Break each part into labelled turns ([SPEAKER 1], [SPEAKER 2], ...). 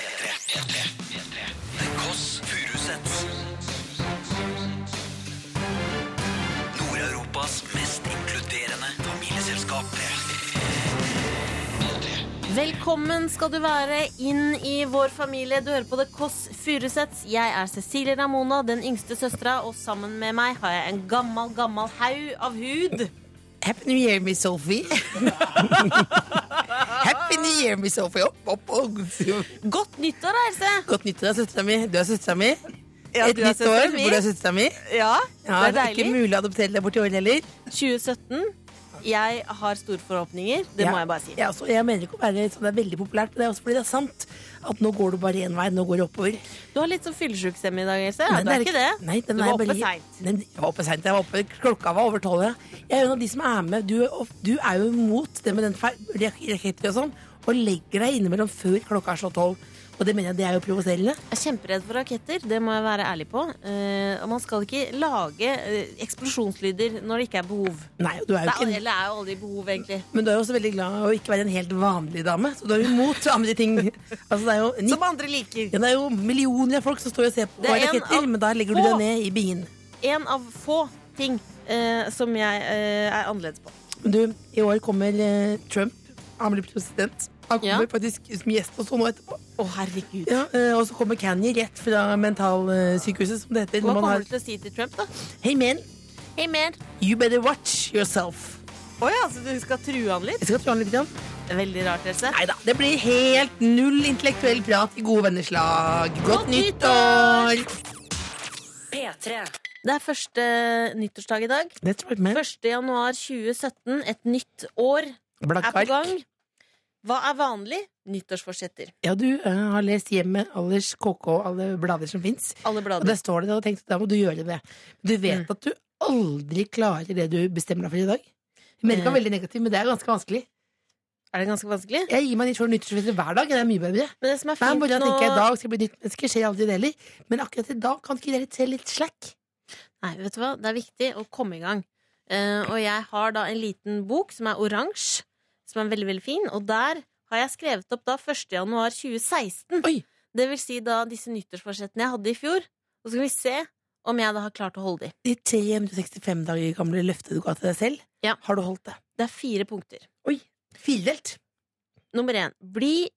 [SPEAKER 1] P3. The Kåss Furuseths. Nord-Europas mest inkluderende familieselskap.
[SPEAKER 2] Velkommen skal du være inn i vår familie. Du hører på The Kåss Furuseths. Jeg er Cecilie Ramona, den yngste søstera, og sammen med meg har jeg en gammel, gammel haug av hud.
[SPEAKER 3] Happy New Year, Miss Sophie. Happy New Year, Miss Sophie. Opp, opp, opp.
[SPEAKER 2] Godt nyttår, da, Else.
[SPEAKER 3] Godt nytt til deg, søstera mi. Du er søstera mi.
[SPEAKER 2] Ja,
[SPEAKER 3] Et
[SPEAKER 2] du er
[SPEAKER 3] nytt
[SPEAKER 2] søsteren
[SPEAKER 3] år
[SPEAKER 2] min.
[SPEAKER 3] hvor du er søstera mi.
[SPEAKER 2] Ja,
[SPEAKER 3] Ja,
[SPEAKER 2] det er deilig.
[SPEAKER 3] ikke mulig å adoptere deg bort i år heller.
[SPEAKER 2] 2017. Jeg har store forhåpninger. Det
[SPEAKER 3] Ja.
[SPEAKER 2] må jeg bare si.
[SPEAKER 3] Ja, så jeg mener ikke å være sånn, det er veldig populært, men det er også fordi det er sant. At nå går du bare én vei. Nå går det oppover.
[SPEAKER 2] Du har litt sånn fyllesjukstemme i dag, Else.
[SPEAKER 3] Nei,
[SPEAKER 2] Ja, du
[SPEAKER 3] det
[SPEAKER 2] er ikke det.
[SPEAKER 3] Nei, den
[SPEAKER 2] du
[SPEAKER 3] er
[SPEAKER 2] var oppe
[SPEAKER 3] bare-
[SPEAKER 2] seint.
[SPEAKER 3] Nei, Jeg var oppe seint. Jeg var oppe, klokka var over tolv. ja. Jeg er en av de som er med. Du, er of- du er jo imot det med den fe- rak- raketter og sånn, og legger deg innimellom før klokka er slått tolv. Og det mener jeg det er jo provoserende.
[SPEAKER 2] Jeg er kjemperedd for raketter. Det må jeg være ærlig på. Eh, og man skal ikke lage eh, eksplosjonslyder når det ikke er behov.
[SPEAKER 3] Nei, og du er jo
[SPEAKER 2] Det er,
[SPEAKER 3] ikke en-
[SPEAKER 2] eller er jo aldri behov, egentlig.
[SPEAKER 3] men du er jo også veldig glad i å ikke være en helt vanlig dame, så du er jo imot andre ting. Altså, det er jo, ni,
[SPEAKER 2] Som andre liker.
[SPEAKER 3] ja, det er jo millioner av folk som står og ser på
[SPEAKER 2] Det er en
[SPEAKER 3] raketter,
[SPEAKER 2] av
[SPEAKER 3] men da legger du
[SPEAKER 2] få.
[SPEAKER 3] deg ned i bingen.
[SPEAKER 2] En av få ting eh, som jeg eh, er annerledes på.
[SPEAKER 3] Men Du, i år kommer eh, Trump. Han blir president. Han
[SPEAKER 2] Ja.
[SPEAKER 3] kommer faktisk som gjest og sånn nå etterpå.
[SPEAKER 2] Å, herregud.
[SPEAKER 3] Ja, eh, og så kommer Kanye rett fra mentalsykehuset, som det heter.
[SPEAKER 2] Hva
[SPEAKER 3] når man
[SPEAKER 2] kommer
[SPEAKER 3] har,
[SPEAKER 2] du til å si til Trump, da?
[SPEAKER 3] hey man,
[SPEAKER 2] Hei, mer.
[SPEAKER 3] you better watch yourself.
[SPEAKER 2] Å ja, så du skal true han litt?
[SPEAKER 3] Jeg skal tro han litt. grann.
[SPEAKER 2] Veldig rart, Else.
[SPEAKER 3] Neida, det blir helt null intellektuell prat i gode venners lag.
[SPEAKER 2] Godt
[SPEAKER 3] Godt, nyttår!
[SPEAKER 2] Det er første nyttårsdag i dag.
[SPEAKER 3] That's right, man.
[SPEAKER 2] 1. januar 2017, et nytt år
[SPEAKER 3] Blank
[SPEAKER 2] er på
[SPEAKER 3] ark.
[SPEAKER 2] gang. Hva er vanlig? Nyttårsforsetter.
[SPEAKER 3] Ja, du eh, har lest hjemme Allers KK og alle blader som fins.
[SPEAKER 2] Alle
[SPEAKER 3] Og der
[SPEAKER 2] blader.
[SPEAKER 3] står det, og tenkt, da må du gjøre det. Du
[SPEAKER 2] Mm.
[SPEAKER 3] vet at du aldri klarer det du bestemmer deg for i dag. Jeg
[SPEAKER 2] Mm.
[SPEAKER 3] mener ikke å være veldig negativ, men det er ganske vanskelig.
[SPEAKER 2] Er det ganske vanskelig?
[SPEAKER 3] Jeg gir meg litt sånn nyttårsfester hver dag. Det er mye bedre.
[SPEAKER 2] Men det som er
[SPEAKER 3] Hver
[SPEAKER 2] fint
[SPEAKER 3] morgen
[SPEAKER 2] nå
[SPEAKER 3] tenker jeg i dag skal jeg bli nytt menneske, skjer aldri det heller. Men akkurat i dag kan ikke dere se litt slack?
[SPEAKER 2] Nei, vet du hva? Det er viktig å komme i gang. Eh, og jeg har da en liten bok som er oransje, som er veldig, veldig fin. Og der har jeg skrevet opp da 1. januar 2016.
[SPEAKER 3] Oi.
[SPEAKER 2] Det vil si da disse nyttårsforsettene jeg hadde i fjor. Og så skal vi se om jeg da har klart å holde de.
[SPEAKER 3] De 365 dager gamle løftet du ga til deg selv,
[SPEAKER 2] Ja.
[SPEAKER 3] har du holdt det?
[SPEAKER 2] Det er fire punkter.
[SPEAKER 3] Oi, Firedelt.
[SPEAKER 2] Nummer én bli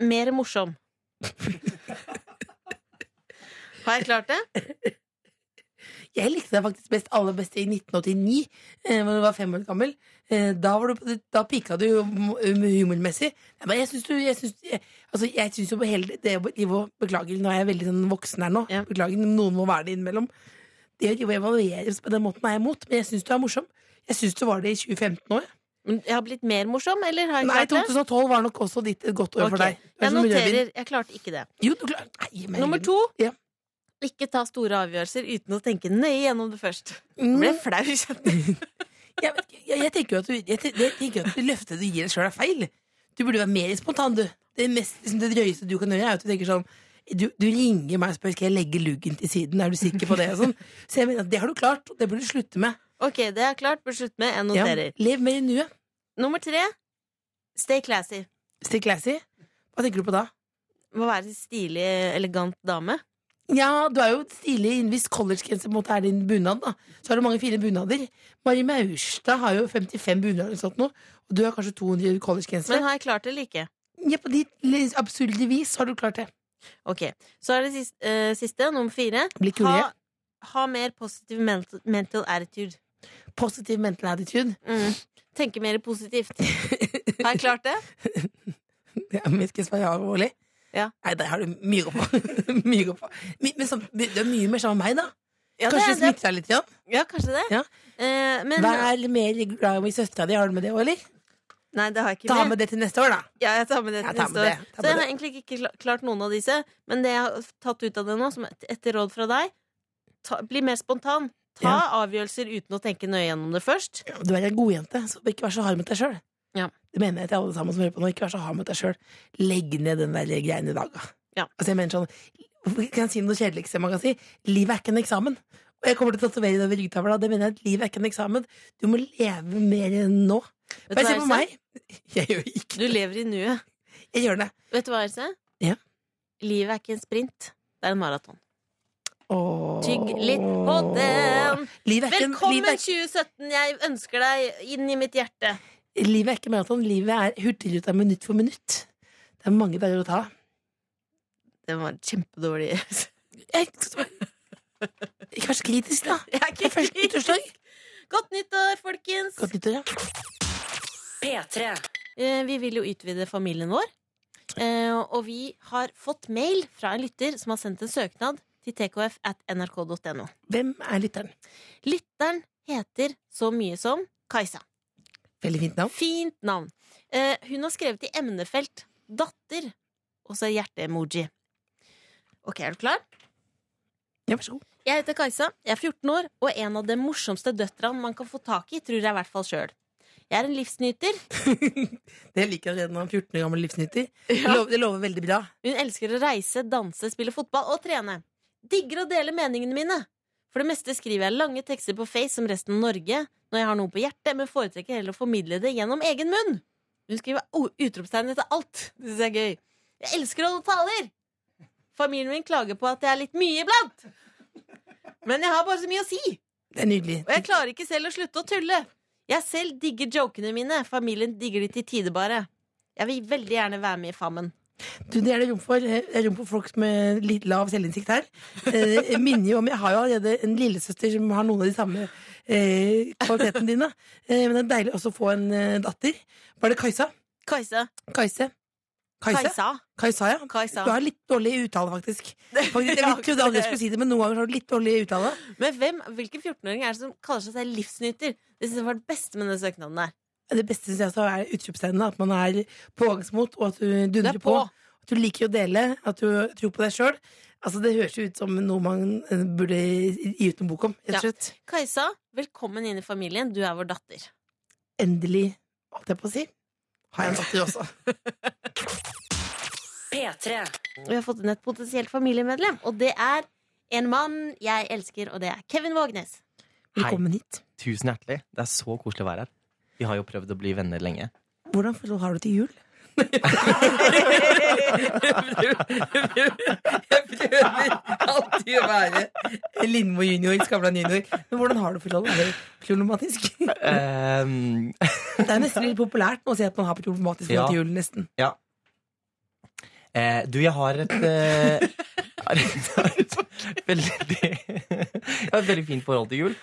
[SPEAKER 2] mer morsom. har jeg klart det?
[SPEAKER 3] Jeg likte deg faktisk best aller best i 1989, eh, da du var fem år gammel. Eh, da, var du, på- da pika du jo hum- humormessig. Nei, men Jeg syns du jeg synes, jeg, altså, jeg synes jo på hele det å drive og- Beklager, nå er jeg veldig sånn voksen her nå.
[SPEAKER 2] Ja.
[SPEAKER 3] Beklager, noen må være det innimellom. Det å drive og evalueres på den måten er jeg imot, men jeg syns du er morsom. Jeg syns du var det i 2015 òg.
[SPEAKER 2] Men Jeg har blitt mer morsom, eller har jeg
[SPEAKER 3] Nei,
[SPEAKER 2] klart det?
[SPEAKER 3] 2012 var nok også ditt et godt år for
[SPEAKER 2] Ok,
[SPEAKER 3] deg. Du er
[SPEAKER 2] Jeg
[SPEAKER 3] som rødvin.
[SPEAKER 2] noterer. Jeg klarte ikke det.
[SPEAKER 3] Jo, du klarer Nei, men-
[SPEAKER 2] Nummer to
[SPEAKER 3] Ja.
[SPEAKER 2] ikke ta store avgjørelser uten å tenke nøye gjennom det først. Nå
[SPEAKER 3] Mm,
[SPEAKER 2] ble jeg flau, kjente jeg.
[SPEAKER 3] jeg, vet ikke, jeg, jeg tenker jo at du, jeg, te- jeg tenker jo at det løftet du gir deg sjøl, er feil. Du burde være mer spontan, du. Det, mest, liksom, det drøyeste du kan gjøre, er at du tenker sånn du, du ringer meg og spør skal jeg legge luggen til siden. Er du sikker på det? Og sånn. Så jeg mener at det har du klart, og det burde du slutte med.
[SPEAKER 2] Ok, det er klart. Bør slutte med. Jeg
[SPEAKER 3] Ja,
[SPEAKER 2] noterer.
[SPEAKER 3] lev mer i nuet.
[SPEAKER 2] Nummer tre stay classy.
[SPEAKER 3] Stay classy. Hva tenker du på da?
[SPEAKER 2] Må være en stilig, elegant dame.
[SPEAKER 3] Ja, du er jo stilig innen hvis collegegenser på en måte er din bunad, da. Så har du mange fine bunader. Mari Maurstad har jo 55 bunader eller sånt nå, og du har kanskje 200 collegegensere.
[SPEAKER 2] Men har jeg klart det eller ikke?
[SPEAKER 3] Ja, på ditt litt absurde vis har du klart det.
[SPEAKER 2] Ok, Så er det siste, eh, siste nummer fire.
[SPEAKER 3] Bli kulere.
[SPEAKER 2] Ha, ha mer positiv mental, mental attitude.
[SPEAKER 3] Positiv mental attitude.
[SPEAKER 2] Mm. Tenke mer positivt. Har jeg klart det?
[SPEAKER 3] Ja, men skal jeg svare ja, Oli?
[SPEAKER 2] Ja.
[SPEAKER 3] Nei, der har du mye å gå på. mye å gå på. My, men sånn, du er mye mer sammen med meg, da.
[SPEAKER 2] Ja, det,
[SPEAKER 3] Kanskje det,
[SPEAKER 2] er det,
[SPEAKER 3] smitter deg litt? Ja.
[SPEAKER 2] ja kanskje det.
[SPEAKER 3] Ja.
[SPEAKER 2] Eh, men,
[SPEAKER 3] Vær mer glad i søstera di. Har du med det òg, eller?
[SPEAKER 2] nei, det har jeg ikke
[SPEAKER 3] Ta
[SPEAKER 2] med.
[SPEAKER 3] med det til neste år, da.
[SPEAKER 2] Ja, jeg tar med det til
[SPEAKER 3] Jeg tar
[SPEAKER 2] neste år.
[SPEAKER 3] med det, jeg tar
[SPEAKER 2] Så jeg
[SPEAKER 3] med
[SPEAKER 2] har egentlig ikke kla- klart noen av disse, men det jeg har tatt ut av det nå, som et- etter råd fra deg, ta, bli mer spontan. Ta avgjørelser uten å tenke nøye gjennom det først.
[SPEAKER 3] Ja, Du er ei godjente, så ikke vær så hard mot deg sjøl.
[SPEAKER 2] Ja.
[SPEAKER 3] Det mener jeg til alle sammen som hører på nå. Ikke vær så hard mot deg sjøl. Legg ned den der greien i dag, da.
[SPEAKER 2] Ja.
[SPEAKER 3] Altså, jeg mener sånn Hvorfor kan jeg si noe kjedelig som man kan si? Livet er ikke en eksamen. Og jeg kommer til å tatovere det over ryggtavla. Det mener jeg at livet er ikke en eksamen. Du må leve mer enn nå.
[SPEAKER 2] Vet
[SPEAKER 3] Bare
[SPEAKER 2] du
[SPEAKER 3] se
[SPEAKER 2] hva,
[SPEAKER 3] på
[SPEAKER 2] Else?
[SPEAKER 3] meg. Jeg gjør ikke
[SPEAKER 2] Du lever i nuet.
[SPEAKER 3] Jeg gjør det.
[SPEAKER 2] Vet du hva, Else?
[SPEAKER 3] Ja.
[SPEAKER 2] Livet er ikke en sprint, det er en maraton.
[SPEAKER 3] Åh.
[SPEAKER 2] Tygg litt på den.
[SPEAKER 3] Livet er ikke,
[SPEAKER 2] Velkommen
[SPEAKER 3] livet er,
[SPEAKER 2] 2017, jeg ønsker deg inn i mitt hjerte.
[SPEAKER 3] ikke- livet er ikke maraton. Livet er hurtigruta minutt for minutt. Det er mange veier å ta.
[SPEAKER 2] Det var kjempedårlig.
[SPEAKER 3] Jeg, ikke vær så kritisk, da.
[SPEAKER 2] Jeg er
[SPEAKER 3] Det er
[SPEAKER 2] ikke
[SPEAKER 3] første nyttårsdag.
[SPEAKER 2] Godt nyttår, folkens!
[SPEAKER 3] Godt nyttår, ja.
[SPEAKER 4] P3.
[SPEAKER 2] Eh, Vi vil jo utvide familien vår. Eh, Og vi har fått mail fra en lytter som har sendt en søknad til tkf at nrk.no.
[SPEAKER 3] Hvem er lytteren?
[SPEAKER 2] Lytteren heter så mye som Kajsa.
[SPEAKER 3] Veldig fint navn.
[SPEAKER 2] Fint navn. Eh, Hun har skrevet i emnefelt 'datter' og så hjerte-emoji. Ok, er du klar?
[SPEAKER 3] Ja, vær så god.
[SPEAKER 2] Jeg heter Kajsa, jeg er 14 år, og en av de morsomste døtrene man kan få tak i, tror jeg i hvert fall sjøl. Jeg er en livsnyter.
[SPEAKER 3] Det liker jeg allerede når han er 14 år gammel livsnytter. Det lover, det lover veldig bra.
[SPEAKER 2] Hun elsker å reise, danse, spille fotball og trene. Digger å dele meningene mine. For det meste skriver jeg lange tekster på Face som resten av Norge når jeg har noe på hjertet, men foretrekker heller å formidle det gjennom egen munn. Hun skriver o- utropstegn etter alt. Det syns jeg er gøy. Jeg elsker å holde taler! Familien min klager på at jeg er litt mye iblant. Men jeg har bare så mye å si.
[SPEAKER 3] Det er nydelig.
[SPEAKER 2] Og jeg klarer ikke selv å slutte å tulle. Jeg selv digger jokene mine. Familien digger de til tide, bare. Jeg vil veldig gjerne være med i Fammen.
[SPEAKER 3] Du, det er det rom for. Eh, Det er rom for folk med litt lav selvinnsikt her. Eh, jeg minner jo om, Jeg har jo allerede en lillesøster som har noen av de samme eh, kvalitetene dine. Eh, men det er deilig også å få en eh, datter. Var det Kajsa?
[SPEAKER 2] Kajsa.
[SPEAKER 3] Kajse? Kajse?
[SPEAKER 2] Kajsa.
[SPEAKER 3] Kajsa, ja.
[SPEAKER 2] Kajsa.
[SPEAKER 3] Du har litt dårlig uttale, faktisk. faktisk jeg trodde aldri jeg skulle si det, men noen ganger har du litt dårlig uttale.
[SPEAKER 2] Men hvem, hvilken 14-åring er det som kaller seg selv livsnyter? Det synes jeg var det beste med den søknaden der.
[SPEAKER 3] Det beste synes jeg så er utropstegnene. At man er pågangsmot, og at du dundrer
[SPEAKER 2] Du er
[SPEAKER 3] på.
[SPEAKER 2] på.
[SPEAKER 3] At du liker å dele, at du tror på deg sjøl. Altså, det høres jo ut som noe man eh, burde gi ut en bok om. rett og
[SPEAKER 2] Ja.
[SPEAKER 3] slett.
[SPEAKER 2] Kajsa, velkommen inn i familien. Du er vår datter.
[SPEAKER 3] Endelig, holdt jeg på å si, har jeg en datter også.
[SPEAKER 4] P3.
[SPEAKER 2] Og vi har fått inn et potensielt familiemedlem, og det er en mann jeg elsker, og det er Kevin Vågnes.
[SPEAKER 3] Velkommen hit.
[SPEAKER 5] Tusen hjertelig. Det er så koselig å være her. Vi har jo prøvd å bli venner lenge.
[SPEAKER 3] Hvordan forhold har du til jul? jeg prøver alltid å være Lindmo junior, Skavlan junior. Men hvordan har du forholdet? Er det problematisk? Det
[SPEAKER 5] Ehm,
[SPEAKER 3] er nesten litt populært nå å si at man har problematisk forhold
[SPEAKER 5] Ja.
[SPEAKER 3] til jul, nesten.
[SPEAKER 5] eh, du, jeg har et eh, har et- har et veldig Jeg har et veldig fint forhold til jul.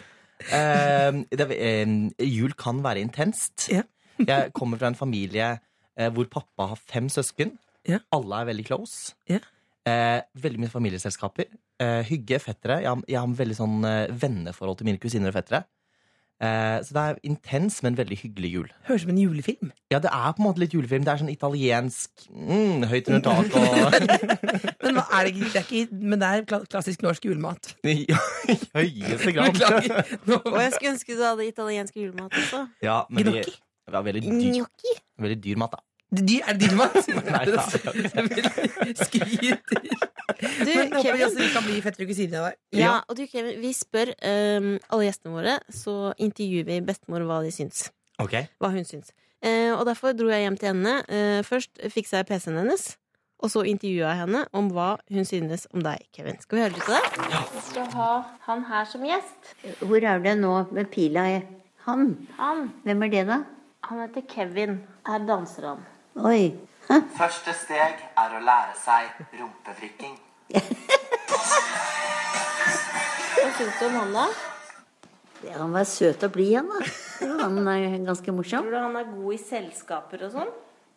[SPEAKER 5] Ehm, det, er- ehm, jul kan være intenst.
[SPEAKER 3] Ja.
[SPEAKER 5] Jeg kommer fra en familie eh, hvor pappa har fem søsken.
[SPEAKER 3] Ja.
[SPEAKER 5] Alle er veldig close.
[SPEAKER 3] Ja.
[SPEAKER 5] Eh, veldig mye familieselskaper. Eh, hygge, fettere. Jeg har, jeg har en veldig sånn eh, venneforhold til mine kusiner og fettere. Eh, så det er intens, men veldig hyggelig jul.
[SPEAKER 3] Høres ut som en julefilm.
[SPEAKER 5] Ja, det er på en måte litt julefilm. Det er sånn italiensk mm, høyt under tak og
[SPEAKER 3] Men hva er det, ikke- det er ikke, men det er kla- klassisk norsk julemat.
[SPEAKER 5] I høyeste grad.
[SPEAKER 3] Beklager. Nå-
[SPEAKER 2] Og jeg skulle ønske du hadde italiensk julemat også.
[SPEAKER 5] Ja, men vi,
[SPEAKER 3] Gnocchi?
[SPEAKER 5] det var veldig dyr,
[SPEAKER 2] Gnocchi.
[SPEAKER 5] veldig dyr mat, da.
[SPEAKER 3] Dy- Er det din mat?
[SPEAKER 5] Nei, da.
[SPEAKER 3] Skryter.
[SPEAKER 2] Du,
[SPEAKER 3] Men håper vi
[SPEAKER 2] Kevin.
[SPEAKER 3] også vi kan bli fettere kusiner av deg.
[SPEAKER 2] Ja, og du, Kevin, vi spør ehm, alle gjestene våre, så intervjuer vi bestemor hva de syns.
[SPEAKER 5] Ok.
[SPEAKER 2] Hva hun syns. Eh, og derfor dro jeg hjem til henne. Eh, først fiksa jeg PC-en hennes, og så intervjua jeg henne om hva hun synes om deg, Kevin. Skal vi høre litt på det? Vi skal ha han her som gjest.
[SPEAKER 6] Hvor er det nå med pila? i- Han?
[SPEAKER 2] Han,
[SPEAKER 6] Hvem er det, da?
[SPEAKER 2] han heter Kevin. Her danser han.
[SPEAKER 6] Oi.
[SPEAKER 7] Første steg er å lære seg rumpefrikking.
[SPEAKER 2] Hva syns du om han, da?
[SPEAKER 6] Ja, Han var søt og blid, han. da. Jo, Han er ganske morsom.
[SPEAKER 2] Tror du han er god i selskaper og sånn?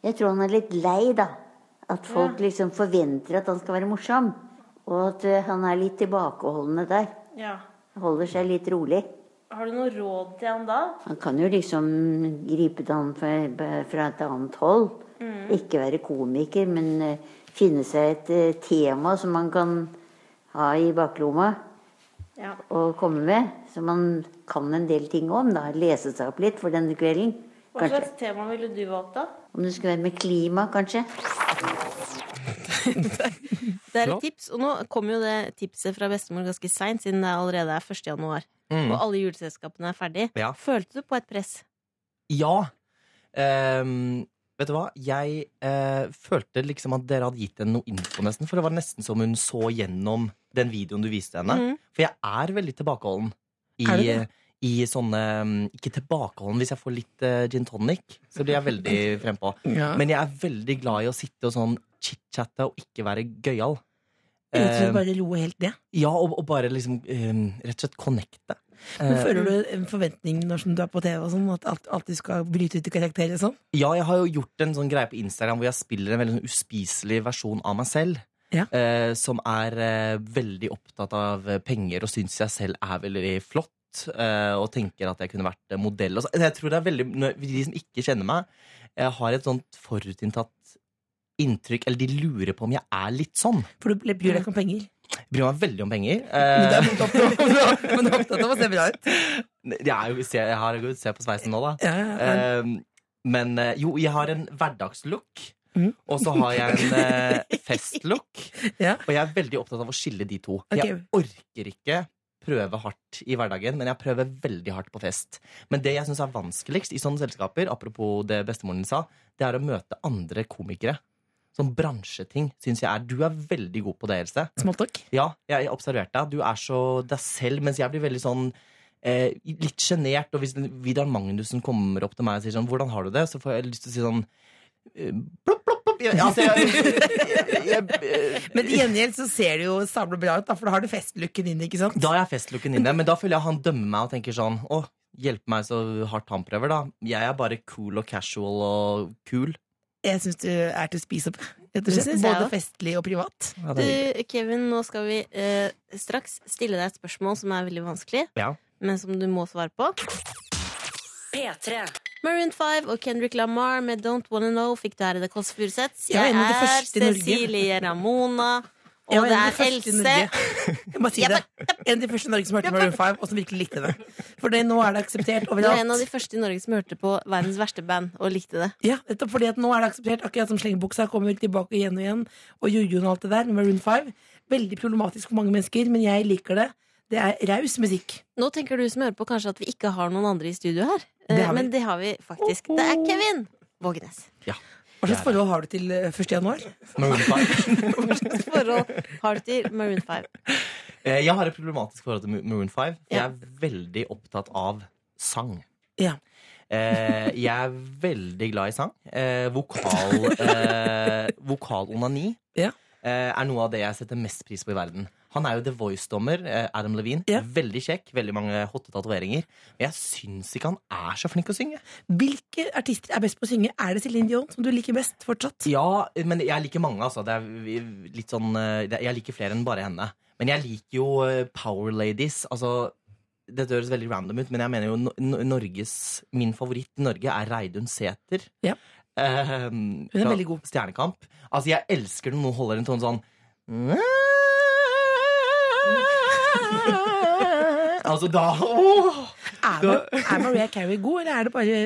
[SPEAKER 6] Jeg tror han er litt lei, da. At folk liksom forventer at han skal være morsom. Og at eh, han er litt tilbakeholdende der.
[SPEAKER 2] Ja.
[SPEAKER 6] Holder seg litt rolig.
[SPEAKER 2] Har du noe råd til han da?
[SPEAKER 6] Han kan jo liksom gripe det an fra, fra et annet hold. Ikke være komiker, men eh, finne seg et eh, tema som man kan ha i baklomma
[SPEAKER 2] Ja.
[SPEAKER 6] og komme med. Som man kan en del ting om. da, Lese seg opp litt for denne kvelden.
[SPEAKER 2] Hva
[SPEAKER 6] Kanskje.
[SPEAKER 2] slags tema ville du valgt, da?
[SPEAKER 6] Om det skulle være med klima, kanskje.
[SPEAKER 2] Det er et tips, og nå kommer jo det tipset fra bestemor ganske seint, siden det allerede er 1. januar. Og alle juleselskapene er ferdig.
[SPEAKER 5] Ja.
[SPEAKER 2] Følte du på et press?
[SPEAKER 5] Ja. Ehm, Vet du hva? Jeg eh, følte liksom at dere hadde gitt henne noe info, nesten. For det var nesten som hun så gjennom den videoen du viste henne. For jeg er veldig tilbakeholden i,
[SPEAKER 3] Mm. Er du det?
[SPEAKER 5] i sånne mm, Ikke tilbakeholden. Hvis jeg får litt eh, gin tonic, så blir jeg veldig frempå.
[SPEAKER 3] Ja.
[SPEAKER 5] Men jeg er veldig glad i å sitte og sånn chit-chatte og ikke være gøyal.
[SPEAKER 3] Rett og slett
[SPEAKER 5] Eh,
[SPEAKER 3] bare roe helt ned.
[SPEAKER 5] ja, og, og bare liksom eh, rett og slett connecte.
[SPEAKER 3] Men
[SPEAKER 5] Eh,
[SPEAKER 3] Føler du en forventning når som du er på TV, og sånn, at alt, alltid skal bryte ut i karakter? og sånn?
[SPEAKER 5] Ja, jeg har jo gjort en sånn greie på Instagram hvor jeg spiller en veldig sånn uspiselig versjon av meg selv.
[SPEAKER 3] Ja.
[SPEAKER 5] Eh, som er eh, veldig opptatt av eh, penger og syns jeg selv er veldig flott. Eh, og tenker at jeg kunne vært eh, modell. Og så. Jeg tror det er veldig, når De som ikke kjenner meg, eh, har et sånt forutinntatt inntrykk. Eller de lurer på om jeg er litt sånn.
[SPEAKER 3] For du bryr deg ikke om penger.
[SPEAKER 5] Jeg bryr meg veldig om penger.
[SPEAKER 3] Men du
[SPEAKER 5] Eh,
[SPEAKER 3] er opptatt- men du er opptatt av å se bra ut.
[SPEAKER 5] jeg er jo, se, herregud, se på sveisen nå, da.
[SPEAKER 3] Ja, ja, ja.
[SPEAKER 5] Eh, men eh, jo, jeg har en hverdagslook.
[SPEAKER 3] Mhm.
[SPEAKER 5] Og så har jeg en eh, festlook.
[SPEAKER 3] Ja.
[SPEAKER 5] Og jeg er veldig opptatt av å skille de to.
[SPEAKER 3] Ok.
[SPEAKER 5] Jeg orker ikke prøve hardt i hverdagen, men jeg prøver veldig hardt på fest. Men det jeg syns er vanskeligst i sånne selskaper, apropos det bestemoren din sa, det er å møte andre komikere. Sånn bransjeting syns jeg er. Du er veldig god på det, Else.
[SPEAKER 3] Smalltalk.
[SPEAKER 5] Ja, jeg observerte deg. Du er så deg selv, mens jeg blir veldig sånn eh, litt sjenert. Og hvis Vidar Magnussen kommer opp til meg og sier sånn 'Hvordan har du det?' så får jeg lyst til å si sånn eh, Plopp, plopp, plopp. Jeg, altså, jeg, jeg, eh, jeg,
[SPEAKER 3] Men til gjengjeld så ser du jo sabla bra ut, da, for da har du festlooken din. ikke sant?
[SPEAKER 5] da er festlooken inne, men da føler jeg han dømmer meg og tenker sånn Å, hjelpe meg så hardt han prøver, da. Jeg er bare cool og casual og cool.
[SPEAKER 3] Jeg syns du er til å spise opp. Rett og
[SPEAKER 2] Det
[SPEAKER 3] slett.
[SPEAKER 2] synes jeg
[SPEAKER 3] Både
[SPEAKER 2] også.
[SPEAKER 3] festlig og privat.
[SPEAKER 5] Ja,
[SPEAKER 2] Du,
[SPEAKER 5] det,
[SPEAKER 2] Kevin, nå skal vi eh, straks stille deg et spørsmål som er veldig vanskelig,
[SPEAKER 5] ja.
[SPEAKER 2] men som du må svare på.
[SPEAKER 4] P3.
[SPEAKER 2] Maroon 5 og Kendrick Lamar med Don't Wanna Know fikk du her i The Kåss Furuseths.
[SPEAKER 3] Jeg var
[SPEAKER 2] Jeg
[SPEAKER 3] en av de
[SPEAKER 2] er
[SPEAKER 3] første i Norge.
[SPEAKER 2] Cecilie Ramona,
[SPEAKER 3] Jeg
[SPEAKER 2] og
[SPEAKER 3] var
[SPEAKER 2] det
[SPEAKER 3] en av de
[SPEAKER 2] er
[SPEAKER 3] første i
[SPEAKER 2] Else.
[SPEAKER 3] Norge. Jeg må si det. En av de første i Norge som hørte Maroon 5, og som virkelig likte det. For det, nå er det akseptert
[SPEAKER 2] Du er en av
[SPEAKER 3] overalt.
[SPEAKER 2] de første i Norge som hørte på verdens verste band og likte det.
[SPEAKER 3] Ja, nettopp fordi at nå er det akseptert Akkurat som slengebuksa kommer tilbake igjen og igjen, og jojoen og alt det der. Maroon 5. Veldig problematisk for mange mennesker, men jeg liker det. Det er raus musikk.
[SPEAKER 2] Nå tenker du som hører på kanskje at vi ikke har noen andre i studio her,
[SPEAKER 3] Det
[SPEAKER 2] Eh,
[SPEAKER 3] har vi. Oh,
[SPEAKER 2] men det har vi faktisk. Det er Kevin Vågenes.
[SPEAKER 3] Hva slags forhold har du til eh, 1. januar?
[SPEAKER 5] Maroon five.
[SPEAKER 2] Hva slags forhold har du til Maroon 5?
[SPEAKER 5] Eh, Jeg har et problematisk forhold til Maroon 5. Jeg
[SPEAKER 2] Ja.
[SPEAKER 5] er veldig opptatt av sang.
[SPEAKER 3] Ja.
[SPEAKER 5] Eh, jeg er veldig glad i sang. Eh, vokal eh, Vokalonani
[SPEAKER 3] Ja.
[SPEAKER 5] eh, er noe av det jeg setter mest pris på i verden. Han er jo The Voice-dommer, eh, Adam Levine.
[SPEAKER 3] Ja.
[SPEAKER 5] Veldig kjekk, veldig mange hotte tatoveringer. Men jeg syns ikke han er så flink å synge.
[SPEAKER 3] Hvilke artister er best på å synge? Er det Céline Dion som du liker best fortsatt?
[SPEAKER 5] Ja, men jeg liker mange, altså. Det er litt sånn eh, det- Jeg liker flere enn bare henne. Men jeg liker jo eh, Power Ladies. Altså, dette høres veldig random ut, men jeg mener jo no- no- Norges Min favoritt i Norge er Reidun Sæther.
[SPEAKER 3] Ja. er
[SPEAKER 5] Eh, fra
[SPEAKER 3] veldig god.
[SPEAKER 5] Stjernekamp. Altså, jeg elsker når noen holder en tone sånn Altså, da åh!
[SPEAKER 3] Er, Mar er Mariah Carey god, eller er det bare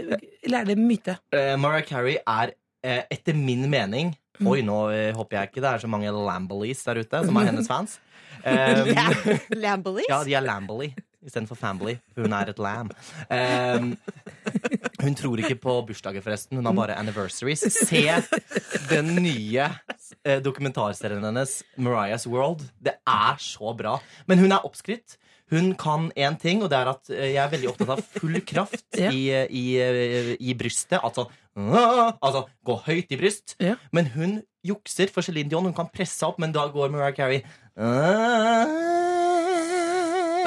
[SPEAKER 3] Eller er det myte?
[SPEAKER 5] Eh, Mariah Carey er eh, etter min mening Oi, nå eh, håper jeg ikke det er så mange Lambolies der ute som er hennes fans. Um,
[SPEAKER 2] Lambolis?
[SPEAKER 5] ja, de er Lamboly istedenfor Family. Hun er et lam. Um, hun tror ikke på bursdager, forresten. Hun
[SPEAKER 3] Mm.
[SPEAKER 5] har bare anniversaries. Se den nye eh, dokumentarserien hennes, Mariah's World. Det er så bra. Men hun er oppskrytt. Hun kan én ting, og det er at eh, jeg er veldig opptatt av full kraft
[SPEAKER 3] Ja.
[SPEAKER 5] i, eh, i, eh, i brystet. Altså, «Åh!» altså gå høyt i bryst.
[SPEAKER 3] Ja.
[SPEAKER 5] Men hun jukser for Celine Dion. Hun kan presse opp, men da går Mariah Carey «Åh!»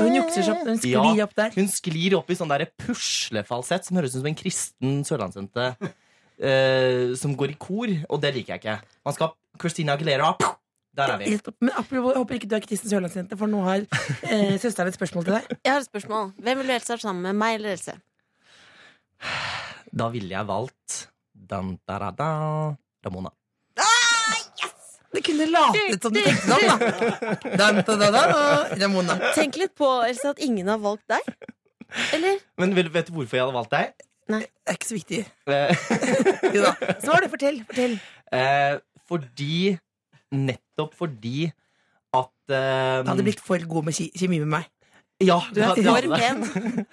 [SPEAKER 3] Hun jukser seg opp, hun sklir
[SPEAKER 5] Ja,
[SPEAKER 3] opp der.
[SPEAKER 5] Hun sklir opp i sånn der puslefalsett som høres ut som en kristen sørlandsjente eh, som går i kor, og det liker jeg ikke. Man skal Christina Aguilera. Der er vi.
[SPEAKER 3] Helt opp. Men apropos, jeg håper ikke du er kristen sørlandsjente, for nå har eh, søsteren et spørsmål til deg.
[SPEAKER 2] Jeg har et spørsmål. Hvem vil du helst være sammen med, meg eller Else?
[SPEAKER 5] Da ville jeg valgt dan, da, da, da, Ramona.
[SPEAKER 3] Du kunne latet som du tenkte deg om, da. Dan, da, da, da, da, Ramona.
[SPEAKER 2] Tenk litt på Else, at ingen har valgt deg. Eller?
[SPEAKER 5] Men vil- vet du hvorfor jeg hadde valgt deg?
[SPEAKER 3] Det er ikke så viktig.
[SPEAKER 5] Eh,
[SPEAKER 3] Jo da. Svar, du. Fortell. fortell.
[SPEAKER 5] Eh, fordi Nettopp fordi at eh,
[SPEAKER 3] Du hadde blitt for god med ki- kjemi med meg.
[SPEAKER 5] Ja,
[SPEAKER 3] Du er
[SPEAKER 5] det- det
[SPEAKER 3] for
[SPEAKER 5] hadde det.
[SPEAKER 2] pen.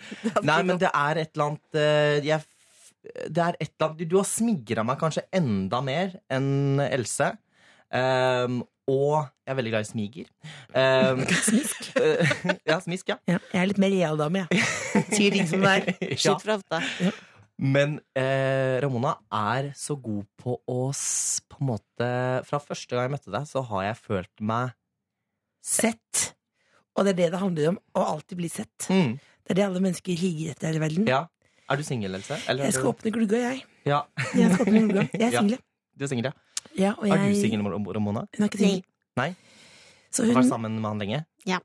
[SPEAKER 5] Nei, men det er et eller annet eh, Jeg f- det er et eller annet, du- Du har smigra meg kanskje enda mer enn Else. Ehm, og jeg er veldig glad i smiger. Ehm,
[SPEAKER 3] Smisk.
[SPEAKER 5] eh, ja, smisk, ja.
[SPEAKER 3] Ja, jeg er litt mer real dame, jeg. Sier ting som det er.
[SPEAKER 5] ja.
[SPEAKER 2] Skyt fra hofta.
[SPEAKER 5] Men eh, Ramona er så god på å s- på en måte Fra første gang jeg møtte deg, så har jeg følt meg
[SPEAKER 3] Sett. Og det er det det handler om. Å alltid bli sett. Det er det alle mennesker higer etter her i verden.
[SPEAKER 5] Ja. Er du singel, Else? Eller er
[SPEAKER 3] Jeg skal
[SPEAKER 5] du-
[SPEAKER 3] åpne glugga, jeg.
[SPEAKER 5] Ja,
[SPEAKER 3] Jeg skal åpne glugga. Jeg er
[SPEAKER 5] Ja.
[SPEAKER 3] single.
[SPEAKER 5] du er singel, ja.
[SPEAKER 3] Ja, og
[SPEAKER 5] Er du
[SPEAKER 3] jeg-
[SPEAKER 5] singel, Mor- Ramona?
[SPEAKER 3] Hun er ikke singel.
[SPEAKER 5] Nei.
[SPEAKER 3] Så
[SPEAKER 5] Har
[SPEAKER 3] hun
[SPEAKER 5] du vært sammen med han lenge?
[SPEAKER 3] Ja,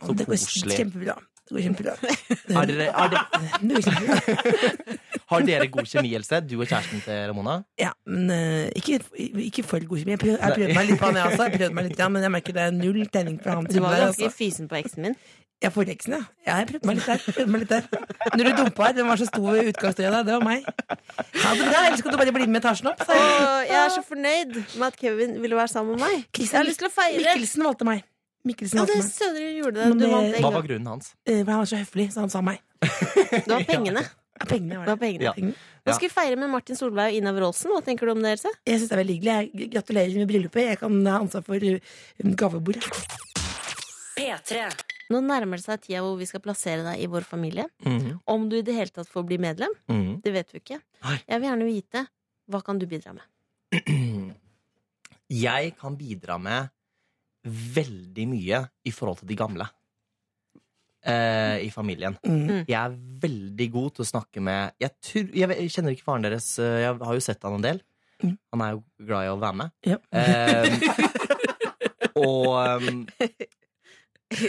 [SPEAKER 5] Så
[SPEAKER 3] det går
[SPEAKER 5] koselig.
[SPEAKER 3] kjempebra. Det går kjempebra.
[SPEAKER 5] Er dere, er dere,
[SPEAKER 3] Det går kjempebra.
[SPEAKER 5] har dere god kjemi, Else? Du og kjæresten til Ramona?
[SPEAKER 3] Ja, men eh, ikke, ikke for god kjemi. Jeg prøv- jeg prøvde meg litt på han, jeg også. Jeg prøvde meg litt, ja, men jeg merker det er null tenning fra han.
[SPEAKER 2] Du var
[SPEAKER 3] der,
[SPEAKER 2] ganske
[SPEAKER 3] altså.
[SPEAKER 2] fysen på eksen min.
[SPEAKER 3] Ja, for teksten, ja. ja jeg prøvde meg litt der. Prøvde meg litt der. Når du dumpa her, den var så stor ved utgangsdøra. der, Det var meg. Ha det bra, eller skal du bare bli med etasjen opp? sa jeg.
[SPEAKER 2] Og jeg er så fornøyd med at Kevin ville være sammen med meg. Jeg har lyst til å feire.
[SPEAKER 3] Mikkelsen valgte meg. Mikkelsen
[SPEAKER 2] Ja,
[SPEAKER 3] valgte
[SPEAKER 2] det
[SPEAKER 3] meg.
[SPEAKER 2] sødre du gjorde det.
[SPEAKER 3] Men
[SPEAKER 2] Du
[SPEAKER 3] det-
[SPEAKER 2] vant en
[SPEAKER 5] Hva var
[SPEAKER 2] gang.
[SPEAKER 5] grunnen hans?
[SPEAKER 3] Eh, for Han var så høflig, så han sa meg.
[SPEAKER 2] Det var pengene.
[SPEAKER 3] Ja, Pengene
[SPEAKER 2] Det
[SPEAKER 3] var
[SPEAKER 2] var
[SPEAKER 3] det.
[SPEAKER 2] pengene.
[SPEAKER 5] Ja.
[SPEAKER 3] Pengene.
[SPEAKER 2] Nå skal vi feire med Martin Solveig og Ina Wroldsen. Hva tenker du om det, Else?
[SPEAKER 3] Jeg syns det er veldig hyggelig. Jeg gratulerer med bryllupet. Jeg kan ha ansvar for eh, gavebordet.
[SPEAKER 4] P3.
[SPEAKER 2] Nå nærmer det seg tida hvor vi skal plassere deg i vår familie.
[SPEAKER 5] Mhm.
[SPEAKER 2] Om du i det hele tatt får bli medlem,
[SPEAKER 5] Mhm.
[SPEAKER 2] det vet vi ikke.
[SPEAKER 5] Nei.
[SPEAKER 2] Jeg vil gjerne vite hva kan du bidra med.
[SPEAKER 5] mm. Jeg kan bidra med veldig mye i forhold til de gamle eh, i familien.
[SPEAKER 3] Mm.
[SPEAKER 5] Jeg er veldig god til å snakke med Jeg, tror, jeg, vet- jeg kjenner ikke faren deres, eh, jeg har jo sett han en del.
[SPEAKER 3] Mm.
[SPEAKER 5] Han er jo glad i å være med.
[SPEAKER 3] Ja.
[SPEAKER 5] Eh, og ehm,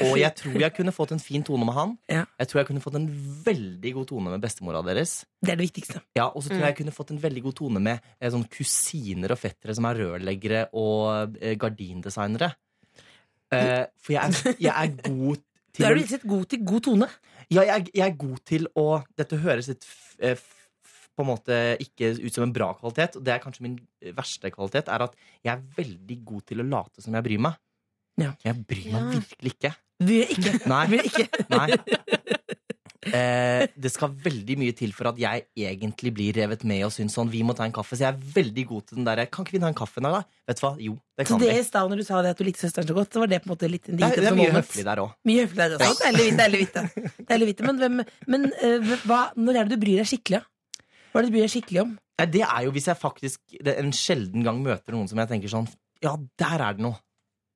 [SPEAKER 5] og jeg tror jeg kunne fått en fin tone med han.
[SPEAKER 3] Ja.
[SPEAKER 5] Jeg tror jeg kunne fått en veldig god tone med bestemora deres.
[SPEAKER 3] Det er det viktigste.
[SPEAKER 5] Ja, Og så
[SPEAKER 3] Mm.
[SPEAKER 5] tror jeg jeg kunne fått en veldig god tone med eh, sånn kusiner og fettere som er rørleggere og eh, gardindesignere. Eh, for jeg er, jeg er god
[SPEAKER 3] Da er
[SPEAKER 5] til
[SPEAKER 3] du rett og slett god til god tone.
[SPEAKER 5] Ja, jeg, er- jeg er god til å Dette høres litt f, eh, f, på en måte ikke ut som en bra kvalitet. og Det er kanskje min verste kvalitet, er at jeg er veldig god til å late som jeg bryr meg.
[SPEAKER 3] Ja.
[SPEAKER 5] Jeg bryr meg
[SPEAKER 2] Ja.
[SPEAKER 5] virkelig ikke.
[SPEAKER 3] Vil jeg ikke.
[SPEAKER 5] Nei.
[SPEAKER 3] Vil jeg ikke.
[SPEAKER 5] Nei. Eh, det skal veldig mye til for at jeg egentlig blir revet med og syns sånn. Vi må ta en kaffe. Så jeg er veldig god til den derre Kan ikke vi ta en kaffe i dag, da? Vet du hva? Jo, det
[SPEAKER 3] Så
[SPEAKER 5] kan
[SPEAKER 3] det
[SPEAKER 5] vi.
[SPEAKER 3] i stad når du sa det at du likte søsteren så godt, så var det på en måte litt en
[SPEAKER 5] Det er, det er mye høflig
[SPEAKER 3] der.
[SPEAKER 5] der òg.
[SPEAKER 3] Mye høflig der også. Deilig vitte, deilig vitte. Deilig vitte. Men, hvem, men eh, hva, når er det du bryr deg skikkelig? da? Hva er det du bryr deg skikkelig om?
[SPEAKER 5] Nei, Det er jo hvis jeg faktisk det, en sjelden gang møter noen som jeg tenker sånn Ja, der er det noe.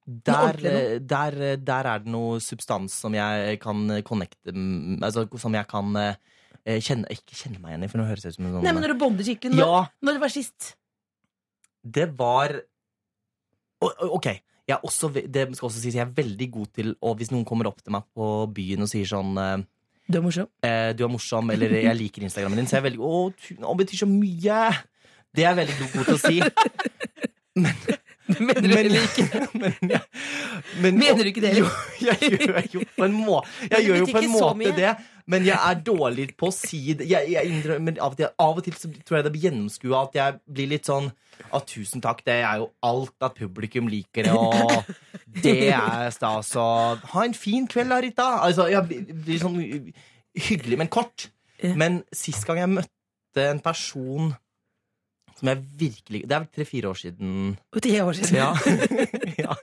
[SPEAKER 5] Der,
[SPEAKER 3] ordentlig noe.
[SPEAKER 5] eh, der, eh, der er det noe substans som jeg kan eh, connecte mm, Altså som jeg kan eh, eh, kjenne Ikke kjenne meg igjen i, for nå høres det ut som en sånn
[SPEAKER 3] Nei, men Når du bonder skikkelig. Når,
[SPEAKER 5] Ja,
[SPEAKER 3] når det var sist.
[SPEAKER 5] det var O- o- Ok, jeg er også, ve- det skal også sies Jeg er veldig god til å, Hvis noen kommer opp til meg på byen og sier sånn eh,
[SPEAKER 3] Du er morsom.
[SPEAKER 5] eh, Du er morsom, eller jeg liker Instagramen din Så jeg er veldig, å, tu- å betyr så mye Det er jeg veldig god til å si
[SPEAKER 3] Mener du,
[SPEAKER 5] Men,
[SPEAKER 3] eller ikke?
[SPEAKER 5] men, jeg- men-
[SPEAKER 3] Mener du ikke det, eller?
[SPEAKER 5] Jo, jeg gjør jo på en, må, jeg
[SPEAKER 2] det
[SPEAKER 5] gjør jo
[SPEAKER 2] betyr
[SPEAKER 5] på en
[SPEAKER 2] ikke så
[SPEAKER 5] måte
[SPEAKER 2] mye.
[SPEAKER 5] det, men jeg er dårlig på å si det. Jeg, jeg innrømmer av og til, av og til så tror jeg det blir gjennomskua at jeg blir litt sånn at tusen takk, det er jo alt at publikum liker det, og det er stas, og ha en fin kveld da, Rita. Altså, jeg blir- blir sånn hyggelig, men kort.
[SPEAKER 3] Ja.
[SPEAKER 5] Men sist gang jeg møtte en person som jeg virkelig Det er vel tre-fire år siden.
[SPEAKER 3] For Ti år siden.
[SPEAKER 5] Ja. ja.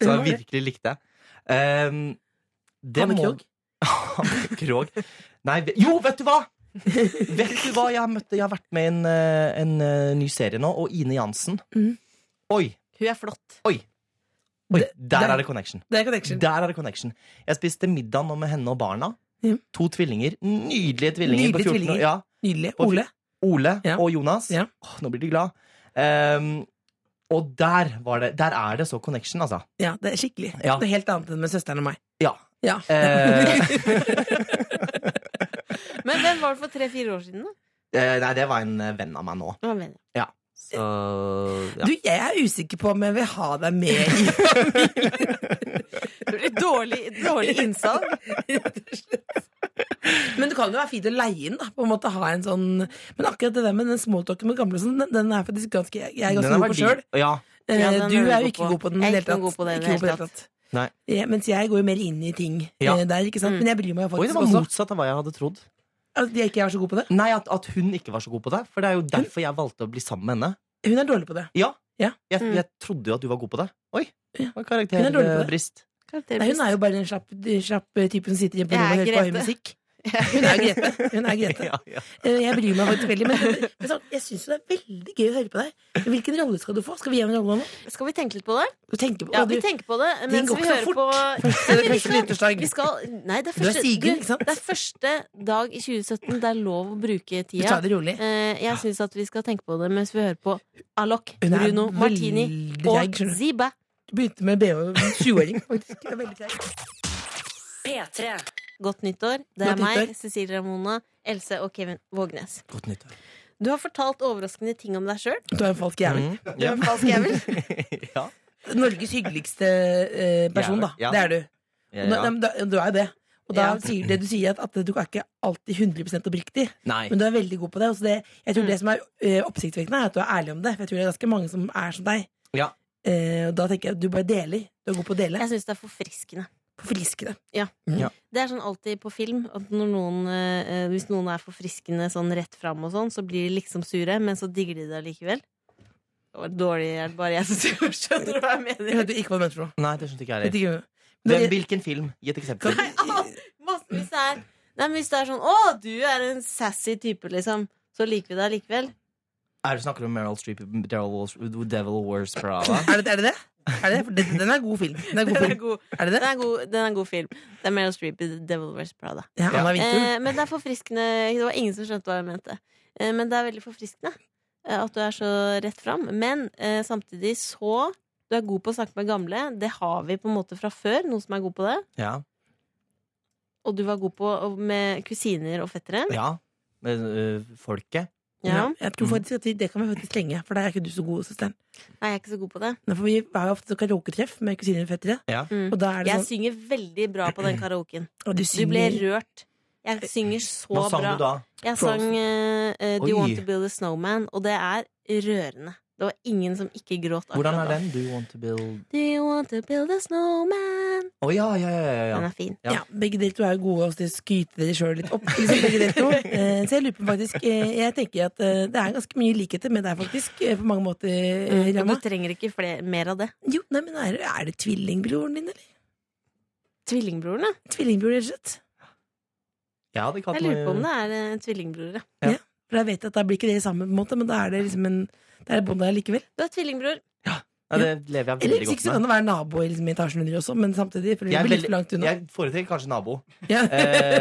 [SPEAKER 5] Så jeg virkelig likte. Um, det
[SPEAKER 3] Hanne
[SPEAKER 5] må-
[SPEAKER 3] Krogh?
[SPEAKER 5] Hanne Krogh. Nei, ve- jo, vet du hva! Vet du hva jeg har møtt? Jeg har vært med i en, eh, en eh, ny serie nå, og Ine Jansen.
[SPEAKER 3] Mhm.
[SPEAKER 5] Oi,
[SPEAKER 2] Hun er flott.
[SPEAKER 5] oi! Oi,
[SPEAKER 3] Det-
[SPEAKER 5] der
[SPEAKER 3] der-
[SPEAKER 5] er det connection.
[SPEAKER 3] Det er connection.
[SPEAKER 5] Der er det connection. Jeg spiste middag nå med henne og barna.
[SPEAKER 3] Ja.
[SPEAKER 5] To tvillinger. Nydelige
[SPEAKER 3] Nydelige
[SPEAKER 5] tvillinger på 14
[SPEAKER 3] tvillinger.
[SPEAKER 5] år. Ja.
[SPEAKER 3] Nydelig.
[SPEAKER 5] Og-
[SPEAKER 3] Ole.
[SPEAKER 5] Ole
[SPEAKER 3] Ja.
[SPEAKER 5] og Jonas.
[SPEAKER 3] Ja.
[SPEAKER 5] Åh, nå blir de glad. Ehm, og der, var det, der er det så connection, altså.
[SPEAKER 3] Ja, det er skikkelig.
[SPEAKER 5] Ja.
[SPEAKER 3] Det er helt annet enn med søsteren og meg.
[SPEAKER 5] Ja.
[SPEAKER 3] Ja.
[SPEAKER 5] Eh,
[SPEAKER 2] Men hvem var det for tre-fire år siden, da?
[SPEAKER 5] eh, nei, det var en eh, venn av meg nå.
[SPEAKER 2] Hva mener jeg?
[SPEAKER 5] Så ja.
[SPEAKER 3] Du, jeg er usikker på om jeg vil ha deg med i
[SPEAKER 2] Det blir dårlig, dårlig innsalg.
[SPEAKER 3] Men det kan jo være fint å leie inn, da. På en måte ha en sånn Men akkurat det der med den smalltalken med gamle og sånn, den, den er faktisk ganske Jeg er ganske
[SPEAKER 5] Den er
[SPEAKER 3] god på
[SPEAKER 5] verdi-
[SPEAKER 3] sjøl.
[SPEAKER 5] Ja.
[SPEAKER 2] Ja, den
[SPEAKER 3] du
[SPEAKER 2] er du
[SPEAKER 3] er jo
[SPEAKER 2] god
[SPEAKER 3] ikke
[SPEAKER 2] på.
[SPEAKER 3] god på den i
[SPEAKER 2] Jeg er
[SPEAKER 3] det
[SPEAKER 2] ikke noe
[SPEAKER 3] hele
[SPEAKER 2] god på det i
[SPEAKER 3] tatt.
[SPEAKER 2] det
[SPEAKER 3] Ikke
[SPEAKER 2] hele
[SPEAKER 3] god på det hele tatt.
[SPEAKER 5] Nei.
[SPEAKER 3] Ja, mens jeg går jo mer inn i ting
[SPEAKER 5] Ja.
[SPEAKER 3] eh, der, ikke sant. Men jeg bryr meg jo
[SPEAKER 5] Oi, det
[SPEAKER 3] faktisk
[SPEAKER 5] var
[SPEAKER 3] også.
[SPEAKER 5] motsatt av hva jeg hadde trodd.
[SPEAKER 3] At jeg ikke er så god på det?
[SPEAKER 5] Nei, at, at hun ikke var så god på det. For det er jo derfor jeg valgte å bli sammen med henne.
[SPEAKER 3] Hun er dårlig på det.
[SPEAKER 5] Ja,
[SPEAKER 3] Ja.
[SPEAKER 5] Jeg,
[SPEAKER 2] Mm.
[SPEAKER 5] jeg trodde jo at du var god på det. Oi, det var
[SPEAKER 3] Hun er dårlig på det.
[SPEAKER 5] karakterbrist.
[SPEAKER 3] Nei, hun er jo bare den slapp, slapp typen som sitter hjemme på
[SPEAKER 2] Jeg
[SPEAKER 3] rommet
[SPEAKER 2] er
[SPEAKER 3] og hører på høy
[SPEAKER 2] Grete.
[SPEAKER 3] musikk. Hun er Grete. Hun er Grete.
[SPEAKER 5] Ja, ja.
[SPEAKER 3] Eh, Jeg bryr meg faktisk veldig, men, men sånn, jeg syns det er veldig gøy å høre på deg. Men Hvilken rolle skal du få? Skal vi gi en rolle nå?
[SPEAKER 2] Skal vi tenke litt på det?
[SPEAKER 3] Du tenker på
[SPEAKER 2] Ja,
[SPEAKER 3] hva
[SPEAKER 2] vi
[SPEAKER 3] du,
[SPEAKER 2] tenker på det mens
[SPEAKER 3] går
[SPEAKER 2] vi
[SPEAKER 3] ikke så
[SPEAKER 2] hører
[SPEAKER 3] fort.
[SPEAKER 2] på
[SPEAKER 3] Første-
[SPEAKER 2] Nei, men vi
[SPEAKER 3] første
[SPEAKER 2] skal-
[SPEAKER 3] nyttårsdag.
[SPEAKER 2] Vi skal Nei, det er
[SPEAKER 3] Du er
[SPEAKER 2] første,
[SPEAKER 3] sigen,
[SPEAKER 2] du,
[SPEAKER 3] ikke sant?
[SPEAKER 2] Det er første dag i 2017 det er lov å bruke
[SPEAKER 3] du tar
[SPEAKER 2] tida.
[SPEAKER 3] det rolig.
[SPEAKER 2] Eh, jeg syns at vi skal tenke på det mens vi hører på Alok,
[SPEAKER 3] Hun er
[SPEAKER 2] Bruno,
[SPEAKER 3] veldig
[SPEAKER 2] Martini og
[SPEAKER 3] treig, skjønner du.
[SPEAKER 2] Ziba.
[SPEAKER 3] Du begynte med BH som 20-åring, faktisk. Det er veldig greit.
[SPEAKER 4] P3.
[SPEAKER 2] Godt nyttår. Det er
[SPEAKER 3] Godt
[SPEAKER 2] meg,
[SPEAKER 3] nyttår.
[SPEAKER 2] Cecilie Ramona, Else og Kevin Vågnes.
[SPEAKER 5] Godt nyttår.
[SPEAKER 2] Du har fortalt overraskende ting om deg sjøl.
[SPEAKER 3] Du er en falsk jævel.
[SPEAKER 5] Mm, ja. ja.
[SPEAKER 3] Norges hyggeligste eh, person, da.
[SPEAKER 5] Mm. Ja.
[SPEAKER 3] Det er du.
[SPEAKER 5] Ja,
[SPEAKER 3] Og da-
[SPEAKER 5] ja.
[SPEAKER 3] nei, men da- Du er jo det. Og da
[SPEAKER 2] Ja.
[SPEAKER 3] sier det du sier, at, at du er ikke alltid 100 oppriktig,
[SPEAKER 5] Nei. Mm.
[SPEAKER 3] men du er veldig god på det. Og så det jeg tror det som er eh, oppsiktsvekkende, er at du er ærlig om det. For jeg tror det er ganske mange som er som deg.
[SPEAKER 5] Ja.
[SPEAKER 3] Eh, og da tenker jeg at du bare deler. Du er god på å dele.
[SPEAKER 2] Jeg syns det er forfriskende.
[SPEAKER 3] Forfriskende.
[SPEAKER 2] Det er sånn alltid på film at når noen, eh, hvis noen er forfriskende sånn rett fram, og sånn, så blir de liksom sure, men så digger de det allikevel. Det var dårlig, er det bare jeg som sier- skjønner hva jeg
[SPEAKER 3] Jeg
[SPEAKER 2] mener.
[SPEAKER 3] hørte ikke hva du mente for noe.
[SPEAKER 5] Nei, det skjønte ikke jeg
[SPEAKER 3] Vet
[SPEAKER 5] heller.
[SPEAKER 3] ikke. Men,
[SPEAKER 5] Hvem- Hvilken film? Gi et eksempel.
[SPEAKER 2] Massevis er Nei, men Hvis det er sånn 'Å, du er en sassy type', liksom, så liker vi det allikevel.
[SPEAKER 5] Er du snakker om Meryl Streep i Devil Wars- Devil Wars Prada?
[SPEAKER 3] er, det, er det det? Er det det? For den- Den er god film. Den er god
[SPEAKER 2] Den er
[SPEAKER 3] film.
[SPEAKER 2] god,
[SPEAKER 3] Er det
[SPEAKER 2] den
[SPEAKER 3] det?
[SPEAKER 2] er god, den er god film. Det er Meryl Streep i The Devil Wears Prada.
[SPEAKER 3] Ja, Anna Vintum.
[SPEAKER 2] Eh, men det er forfriskende Det var ingen som skjønte hva jeg mente. Eh, men det er veldig forfriskende eh, at du er så rett fram. Men eh, samtidig så Du er god på å snakke med gamle. Det har vi på en måte fra før, noen som er god på det.
[SPEAKER 5] Ja.
[SPEAKER 2] Og du var god på og med kusiner og fettere.
[SPEAKER 5] ja. Med øh, folket.
[SPEAKER 2] Ja.
[SPEAKER 3] Jeg tror faktisk at vi- det kan vi faktisk trenge, for der er ikke du så god, søsteren.
[SPEAKER 2] Nei, jeg er ikke så god på det.
[SPEAKER 3] Nei, For vi har jo ofte så karaoketreff med kusiner og fettere,
[SPEAKER 5] Ja.
[SPEAKER 2] Mm.
[SPEAKER 3] og da er det
[SPEAKER 2] Jeg
[SPEAKER 3] sånn
[SPEAKER 2] synger veldig bra på den karaoken.
[SPEAKER 3] og du
[SPEAKER 2] Du ble
[SPEAKER 3] synger
[SPEAKER 2] rørt. Jeg synger så
[SPEAKER 5] Hva sang
[SPEAKER 2] bra.
[SPEAKER 5] du da?
[SPEAKER 2] Jeg sang eh, eh, Do You
[SPEAKER 5] Oi.
[SPEAKER 2] Want To Build A Snowman, og det er rørende. Det var ingen som ikke gråt.
[SPEAKER 5] Hvordan er
[SPEAKER 2] akkurat da.
[SPEAKER 5] den? Do you want to build
[SPEAKER 2] Do you want to build a snowman?
[SPEAKER 5] Å ja, ja, ja, ja, ja.
[SPEAKER 2] Den er fin.
[SPEAKER 5] Ja.
[SPEAKER 3] ja, begge dere to er jo gode også til å skryte dere sjøl litt opp. Liksom, begge dere to. Eh, Så jeg lurer på faktisk eh, Jeg tenker at eh, det er ganske mye likheter med deg, faktisk, eh, på mange måter. eh,
[SPEAKER 2] Og
[SPEAKER 3] Rama.
[SPEAKER 2] du trenger ikke flere, mer av det.
[SPEAKER 3] Jo, nei, men er, er det tvillingbroren din, eller?
[SPEAKER 2] Tvillingbroren, ja.
[SPEAKER 3] Tvillingbror, rett og slett.
[SPEAKER 5] Ja, det kan
[SPEAKER 2] Jeg lurer på om det er eh, tvillingbror. ja.
[SPEAKER 3] For jeg vet at da blir ikke dere sammen, på en måte, men da er det liksom en det er båndet likevel.
[SPEAKER 2] Du er tvillingbror.
[SPEAKER 5] Ja, det lever
[SPEAKER 3] Eller
[SPEAKER 5] jeg veldig
[SPEAKER 3] hvis ikke
[SPEAKER 5] godt
[SPEAKER 3] så kan
[SPEAKER 5] med.
[SPEAKER 3] det være naboer liksom, i etasjen under også, men samtidig for det
[SPEAKER 5] Jeg er
[SPEAKER 3] blir litt
[SPEAKER 5] veldig-
[SPEAKER 3] for langt unna.
[SPEAKER 5] Jeg foretrekker kanskje nabo.
[SPEAKER 3] Ja.